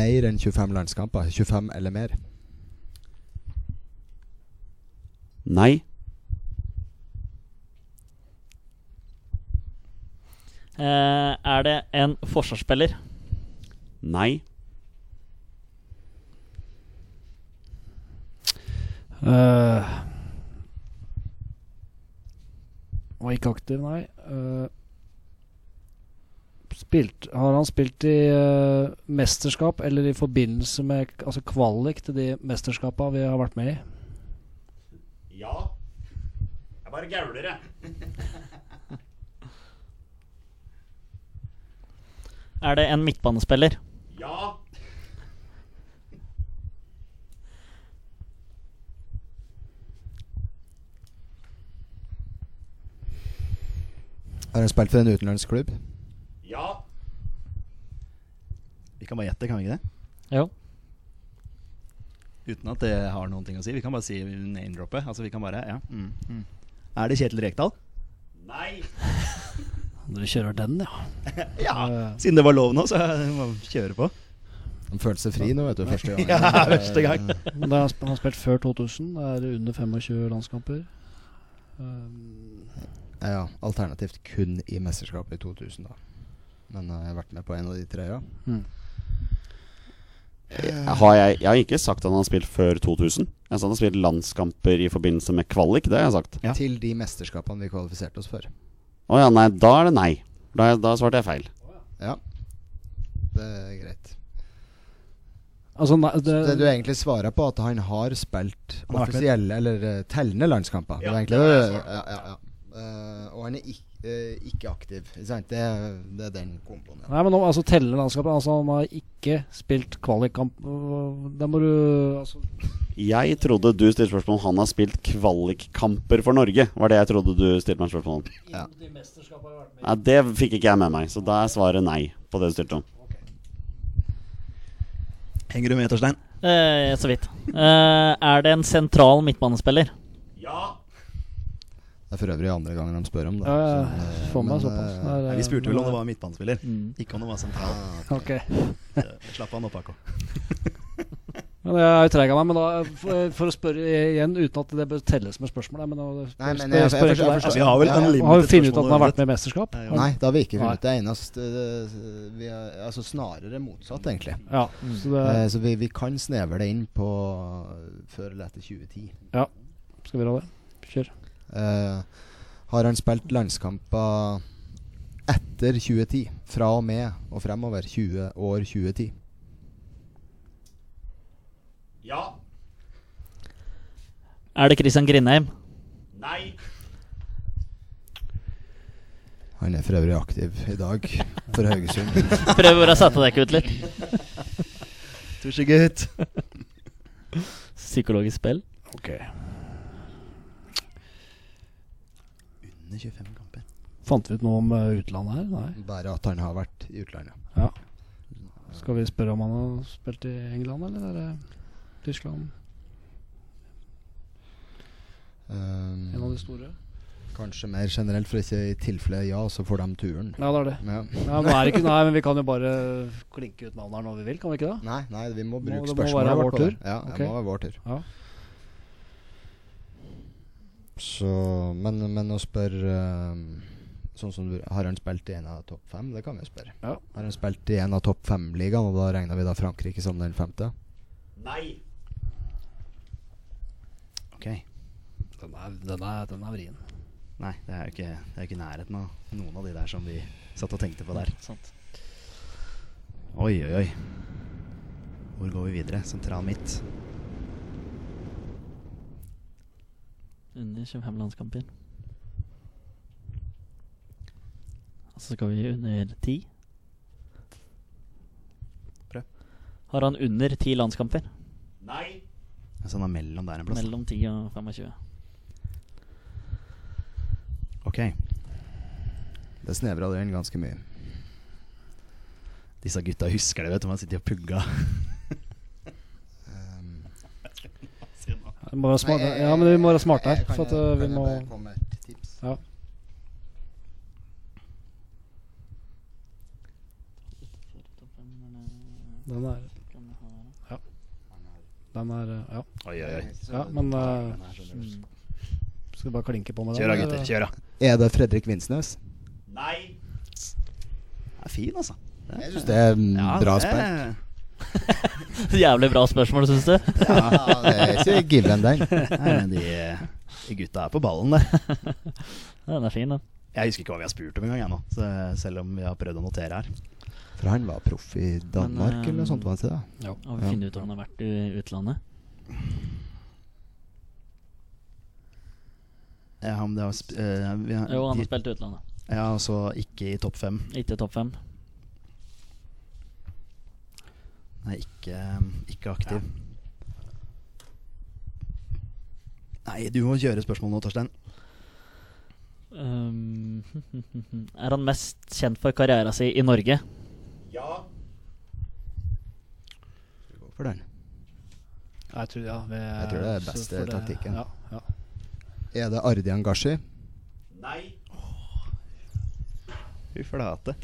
S4: mer enn 25 landskamper? 25 eller mer?
S1: Nei.
S3: Eh, er det en forsvarsspiller?
S1: Nei.
S5: Eh, var ikke aktiv, nei. Eh, spilt, har han spilt i eh, mesterskap eller i forbindelse med k- altså kvalik til de mesterskapene vi har vært med i?
S1: Ja. Jeg bare gauler, jeg.
S3: Er det en midtbanespiller?
S1: Ja.
S4: Har han spilt for en utenlandsklubb?
S1: Ja.
S2: Vi kan bare gjette, kan vi ikke det?
S3: Jo.
S2: Uten at det har noen ting å si. Vi kan bare si name-droppet. Altså, vi kan bare Ja. Mm. Mm. Er det Kjetil Rekdal?
S1: Nei.
S5: Dere kjører den, ja. Eh,
S2: Ja, siden det var lov nå, så må vi kjøre på.
S4: Han følte seg fri nå, vet du. Første gang.
S2: Ja, første gang.
S5: Men da har han sp- han har spilt før 2000. Det er under 25 landskamper. Eh,
S4: Ja, alternativt kun i mesterskapet i 2000, da. Men eh, jeg har vært med på en av de tre, ja.
S1: Har jeg, jeg har ikke sagt at han har spilt før 2000. Jeg sa han har spilt landskamper i forbindelse med kvalik. Det har jeg sagt.
S2: Ja.
S4: Til de mesterskapene vi kvalifiserte oss for.
S1: Å ja, nei. Da er det nei. Da, da svarte jeg feil.
S4: Ja, det er greit.
S5: altså, nei, det,
S4: Det du egentlig svarer på, at han har spilt
S2: Han har vært med.
S4: offisielle eller eh, tellende landskamper. Ja, det var egentlig, det, ja, ja, ja. Eh, og han er ikke, eh, ikke aktiv. Ikke sant? Det, det er den komboen. ja.
S5: Nei, men nå, altså teller landskapet. Altså, han har ikke spilt kvalikkamp. Øh, Da må du altså,
S1: Jeg trodde du stilte spørsmål om han har spilt kvalikkamper for Norge. Var det jeg trodde du stilte meg spørsmål om?
S4: Ja.
S1: Nei, det fikk ikke jeg med meg, så da er svaret nei på det du stilte om.
S2: Henger du med, Torstein?
S3: Eh, så vidt. Eh, er det en sentral midtbanespiller?
S4: Det er for øvrig andre gangen de spør om det.
S5: ja,
S4: så,
S5: ja,
S4: eh,
S5: Få meg
S4: men,
S5: såpass.
S4: eh,
S5: Det er,
S2: Nei, vi spurte vel om det var midtbanespiller.
S3: Mm.
S2: Ikke om det var sentral.
S5: Ok.
S2: Slapp av nå, Paco.
S5: Men jeg er jo treig av meg, men da, for, for å spørre igjen, uten at det bør telles med spørsmål da, men da,
S4: Nei, men jeg-
S5: spør-
S4: jeg- jeg forstår- jeg
S5: spør ikke deg.
S4: forstår.
S2: Altså, Vi har vel
S4: Ja, ja.
S2: unlimited
S5: altså, Har du funnet ut at han har
S2: spørsmål
S5: vært med i mesterskap?
S2: Nei,
S4: Nei, det har vi ikke
S5: Nei.
S4: funnet. Det eneste eh, vi er, Altså snarere motsatt, egentlig.
S5: Ja, så det
S4: Eh, så vi, vi kan snevre det inn på eh, før eller etter 2010.
S5: skal vi gjøre det. Kjør.
S4: Eh, har han spilt landskamper etter 2010? Fra og med og fremover 20 år 2010?
S3: Er det Christian Grindheim?
S4: Han er for øvrig aktiv i dag for Haugesund.
S3: Prøv bare å sette deg ikke ut litt.
S2: Tusje, gutt.
S3: Psykologisk spill.
S5: Ok.
S2: Under 25 kamper.
S5: Fant vi ut noe om øh, utlandet her? Nei.
S4: Bare at han har vært i utlandet.
S5: Skal vi spørre om han har spilt i England, eller er det Tyskland?
S4: Eh,
S5: En av de store?
S4: kanskje mer generelt, for ikke i tilfelle ja, så får de turen.
S5: Ja, det er det.
S4: Ja.
S5: Nei, nå er det ikke, nei, men vi kan jo bare klinke ut navnet her når vi vil, kan vi ikke det?
S4: Nei, nei, vi må
S5: Må-
S4: bruke
S5: det må
S4: spørsmålet
S5: være
S4: vårt
S5: vår
S4: på det. Ja,
S5: Ok.
S4: det må være vår tur.
S5: Ja.
S4: Så, men, men å spørre eh, Sånn som du Har han spilt i en av topp fem? Det kan vi jo spørre.
S5: Ja.
S4: Har han spilt i en av topp fem-ligaene, og da regner vi da Frankrike som den femte?
S2: Ok.
S5: Den er, den er, den er vrien.
S2: Nei, det er jo ikke, det er jo ikke nærheten av noen av de der som vi satt og tenkte på der.
S3: Sant.
S2: Oi, oi, oi. Hvor går vi videre? Sentral midt.
S3: Under 25 landskamper. Og så skal vi under ti.
S2: Prøv.
S3: Har han under ti landskamper?
S1: Nei!
S2: Jeg sender mellom der en plass.
S3: Mellom 10 og 25.
S2: Ok,
S4: Det snevra det inn ganske mye.
S2: Disse gutta husker det, vet du. Man sitter og pugger.
S4: Um,
S5: Vi må være smart,
S4: Nei, jeg-
S5: ja, men vi må være smarte
S4: jeg
S5: her.
S4: kan-
S5: For at eh, vi
S4: kan jeg
S5: må
S4: bare komme med et tips?
S5: Ja. Den er, den er eh, Ja,
S2: Oi, oi, oi.
S5: ja men eh, skal vi bare klinke på med den?
S2: Kjør da,
S5: eller?
S2: gutter. Kjør da.
S4: Er det Fredrik Vinsnes?
S1: Nei!
S2: Det er fin, altså.
S4: Jeg syns det er mm, bra
S2: det-
S4: spenn.
S3: Jævlig bra spørsmål, syns du?
S4: Ja, det er ikke given, den.
S2: Nei, men de, de gutta er på ballen, der.
S3: Ja, Den er fin, den.
S2: Jeg husker ikke hva vi har spurt om engang, jeg nå. Så eh, selv om vi har prøvd å notere her.
S4: For han var proff i Danmark
S3: Men, eh,
S4: eller noe sånt? var han ikke det?
S3: Og vi
S4: Ja.
S3: finner ut om han har vært i utlandet.
S2: Ja, men det har sp eh, vi har,
S3: Jo, han har spilt i utlandet.
S2: Ja, og så ikke i topp fem.
S3: Ikke topp fem.
S2: Nei, ikke, eh, ikke aktiv. Nei, du må kjøre spørsmål nå, Torstein.
S3: Um, er han mest kjent for karriera si i Norge?
S1: Ja!
S4: For den.
S5: Jeg tror, ja, vi,
S4: Jeg tror det er beste
S5: så får
S4: taktikken.
S5: Ja, ja.
S4: Er det Ardian Gashi?
S1: Nei!
S2: Fy flate.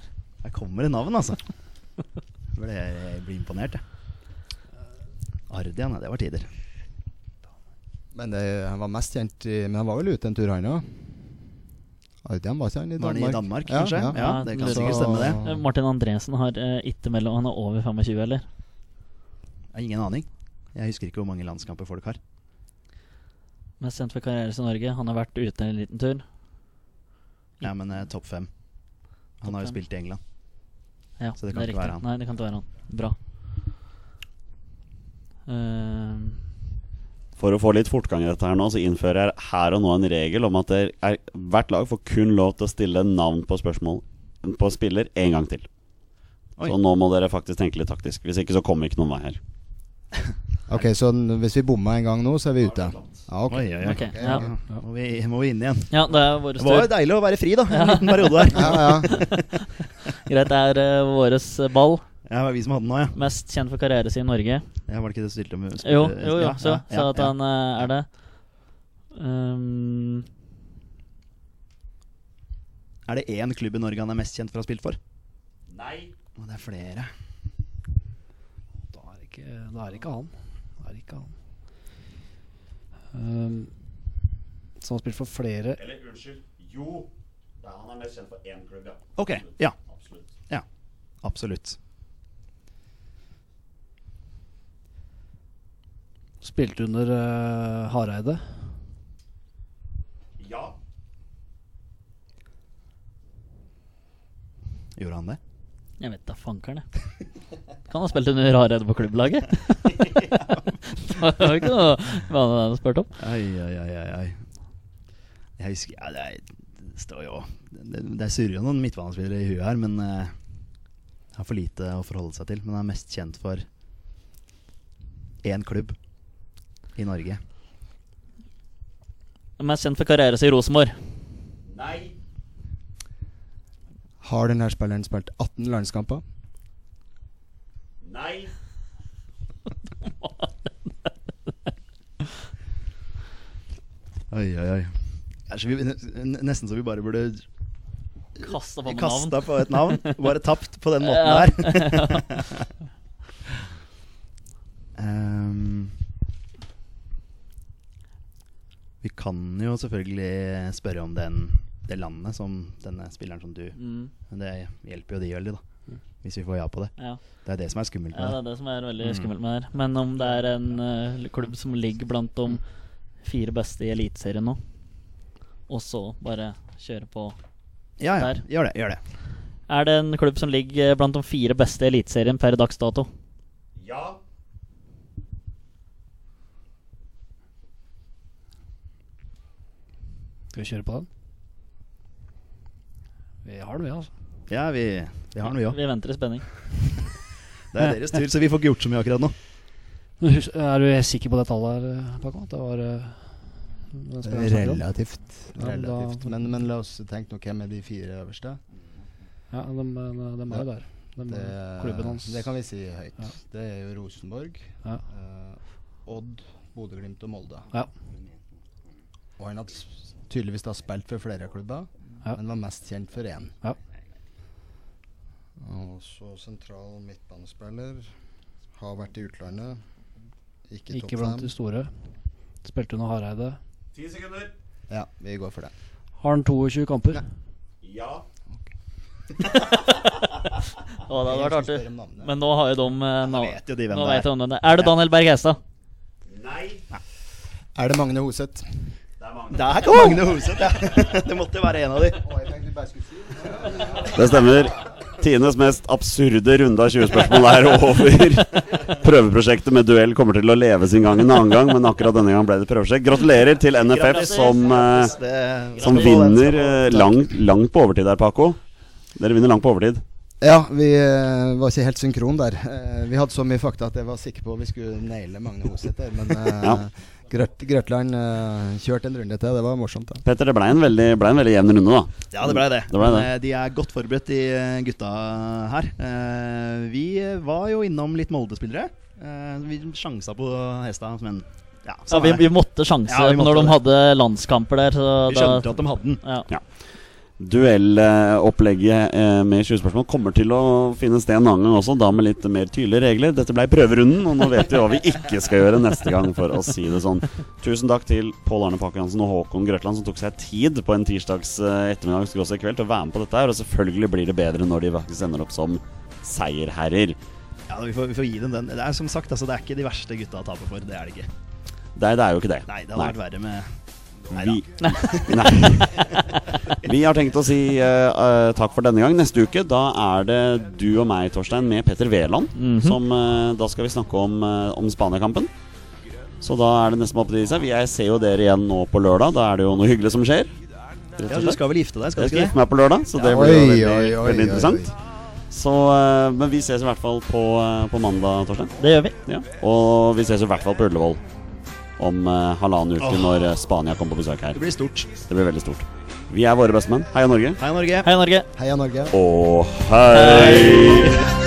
S2: Her kommer det navn, altså. Jeg Ble, jeg blir imponert, jeg. Ardian, ja, det var tider.
S4: Men det, han var mest kjent i Men han var vel ute en tur, han òg? Ardian var ikke han i
S2: Var
S4: Danmark?
S2: han i Danmark, kanskje? Ja,
S3: ja.
S2: det kan
S3: Så-
S2: sikkert stemme, det.
S3: Eh, Martin Andresen har eh, ikke mellom Han er over 25, eller?
S2: Jeg har ingen aning. Jeg husker ikke hvor mange landskamper folk har.
S3: Mest kjent for karriera si i Norge. Han har vært ute en liten tur.
S2: Ja, men eh, topp fem. Han
S3: Topp
S2: har jo
S3: fem.
S2: spilt i England.
S3: Ja,
S2: Så det kan
S3: er
S2: ikke være
S3: riktig.
S2: han.
S3: Nei, det kan ikke være han. Bra. Ehm,
S1: For å få litt fortgang i dette her nå, så innfører jeg her og nå en regel om at det er, hvert lag får kun lov til å stille navn på spørsmål på spiller én gang til.
S2: Oi.
S1: Så nå må dere faktisk tenke litt taktisk. Hvis ikke så kommer vi ikke noen vei her.
S4: Ok, så n- hvis vi bomma en gang nå, så er vi ute. Ja, ok.
S2: Oi, oi, oi.
S3: ok, ja.
S2: Ja, Må, vi, må vi inn igjen.
S3: ja, det er vår
S2: Det var jo
S3: tur.
S2: deilig å være fri, da. En liten periode der.
S4: Ja, ja.
S3: Greit, det er uh, vår ball.
S2: Ja, det var vi som hadde den nå, ja.
S3: Mest kjent for karriera si i Norge.
S2: ja. Var det ikke det du stilte med?
S3: Jo, jo, jo,
S2: Eh, Ja,
S3: så,
S2: ja,
S3: så
S2: ja,
S3: at
S2: ja.
S3: han eh, er det. Ehm,
S2: Er det én klubb i Norge han er mest kjent for å ha spilt for? Nei. Og det er flere.
S5: Da er det ikke, da er det ikke han. Da er det ikke han. Ehm, så han har spilt for flere
S1: Eller unnskyld. Jo. han er mest kjent for én klubb, ja.
S2: Ok, ja.
S1: Absolutt.
S2: Absolutt.
S5: Spilte under eh, Hareide.
S1: Ja.
S2: Gjorde han det?
S3: Jeg vet da fankeren, jeg. Kan ha spilt under Hareide på klubblaget. det var ikke noe hva han hadde spurt om.
S2: Ai, ai, ai, ai, ai. Jeg husker ja, det, er, det står jo Det, det surrer jo noen midtbanespillere i huet her, men eh, har for lite å forholde seg til. Men han er mest kjent for én klubb i Norge.
S3: Mest kjent for karrieren sin i Rosenborg.
S1: Nei.
S4: Har denne spilleren spilt 18 landskamper?
S1: Nei.
S2: Oi, oi, oi. Ja, så vi, n- nesten så vi bare burde
S3: Kasta på meg navn.
S2: kasta på et navn. Bare tapt på den måten der. Ehm, vi kan jo selvfølgelig spørre om den, det landet som denne spilleren som du
S3: Mm,
S2: Men det hjelper jo de veldig, da. Hvis vi får ja på det.
S3: ja.
S2: Det er det som er skummelt
S3: ja, det
S2: med det.
S3: er det som er
S2: Mm.
S3: veldig skummelt med det her. Men om det er en eh, klubb som ligger blant de fire beste i Eliteserien nå, og så bare kjøre på
S2: Ja, ja.
S3: Der.
S2: Gjør det. Gjør det.
S3: Er det en klubb som ligger blant de fire beste i Eliteserien per dags dato?
S1: Ja.
S5: Skal vi kjøre på den? Vi har den, vi, altså.
S2: Ja, vi, vi har den, vi òg.
S3: Vi venter i spenning.
S2: Det er deres tur, så vi får ikke gjort så mye akkurat nå.
S5: Men hus- Er du helt sikker på det tallet her, eh, Paco? At Det var eh, den spilleren som snakket om?
S4: Relativt.
S5: Ja, da-
S4: Relativt. Men, men la oss tenke nå hvem er de fire øverste.
S5: Ja, de, de, de er jo der. De,
S4: Det,
S5: Mm. klubben hans.
S4: det kan vi si høyt.
S5: Ja.
S4: Det er jo Rosenborg,
S5: Ja.
S4: eh, Odd, Bodø-Glimt og Molde.
S5: Ja.
S4: Og han har s- tydeligvis da spilt for flere klubber,
S5: Ja.
S4: men var mest kjent for én.
S5: Ja.
S4: Og så sentral midtbanespiller. Har vært i utlandet. Ikke,
S5: Ikke
S4: topp
S5: blant de
S4: fem.
S5: store. Spilte under Hareide.
S1: Ti sekunder.
S4: Ja, vi går for det.
S5: Har han 22 kamper?
S1: Ja.
S3: Å, det hadde vært
S4: Jeg skal spørre
S3: artig.
S4: om navnet.
S3: Men nå har jo de eh, nå,
S2: Vet jo de hvem
S3: nå
S2: det
S3: vet
S2: er.
S3: jeg om den er. Er det Daniel Berg Heistad?
S1: Nei.
S4: Er det Magne Hoseth?
S1: Det er mange.
S2: Der kom Magne Hoseth, ja. Det måtte jo være en av de.
S1: Det stemmer. Tines mest absurde runde av 20 spørsmål er over. Prøveprosjektet med duell kommer til å leve sin gang en annen gang, men akkurat denne gang ble det prøveprosjekt. Gratulerer til NFF som, eh,
S2: Det,
S1: som vinner eh, langt, langt på overtid her, Paco. Dere vinner langt på overtid.
S4: Ja, vi eh, var ikke helt synkron der. Eh, vi hadde så mye fakta at jeg var sikker på vi skulle naile Magne Hoseth der, men eh,
S1: Ja.
S4: Grøt, Grøtland eh, kjørte en runde til. Det var morsomt. da
S1: Petter, det ble en veldig, ble en veldig jevn runde, da.
S2: Ja, det blei det.
S1: Det ble det.
S2: Men, eh, De er godt forberedt, de eh, gutta her. Eh, Vi var jo innom litt Molde-spillere. Eh, Vi sjansa på Hestad, men ja,
S3: Ja,
S2: sånn
S3: vi,
S2: er
S3: vi
S2: det.
S3: måtte sjanse
S2: Ja, vi måtte
S3: når de
S2: det.
S3: hadde landskamper der. Så
S2: Vi skjønte at de hadde den.
S3: ja.
S1: Duellopplegget eh, med 20 spørsmål kommer til å finne sted en annen gang også, da med litt mer tydelige regler. Dette ble prøverunden, og nå vet vi hva vi ikke skal gjøre neste gang, for å si det sånn. Tusen takk til Pål Arne Pakke Hansen og Håkon Grøtland, som tok seg tid på en tirsdags eh, ettermiddag skulle også i kveld til å være med på dette her. Og selvfølgelig blir det bedre når de faktisk ender opp som seierherrer.
S2: Ja, vi får, vi får gi dem den. Det er som sagt, altså, det er ikke de verste gutta å tape for. Det er det ikke.
S1: Det, er- det er jo ikke det.
S2: Nei, det hadde vært verre med Nei da.
S1: Vi, nei. Vi har tenkt å si eh, eh, takk for denne gang. Neste uke da er det du og meg, Torstein, med Petter Wæland. som, eh, da skal vi snakke om, uh, om Spania-kampen. Så da er det nesten opp til seg. Jeg ser jo dere igjen nå på lørdag. Da er det jo noe hyggelig som skjer. Rett
S2: Ja,
S1: og
S2: du
S1: slett.
S2: skal vel gifte deg, skal
S1: Jeg skal
S2: du ikke
S1: gifte
S2: det?
S1: meg på lørdag, så det
S4: Ja.
S1: blir jo
S4: Oi,
S1: veldig,
S4: oi, oi,
S1: veldig
S4: oi,
S1: interessant.
S4: oi.
S1: Så, eh, men vi ses i hvert fall på, eh, på mandag, Torstein.
S3: Det gjør vi.
S1: Ja. Og vi ses i hvert fall på Ullevål om eh, halvannen uke, når eh, Spania kommer på besøk her.
S2: Det blir stort.
S1: Det blir veldig stort. Vi er våre bestemenn. Heia Norge.
S2: Hei, Norge.
S3: Hei, Norge.
S4: Heia Norge.
S1: Og hei!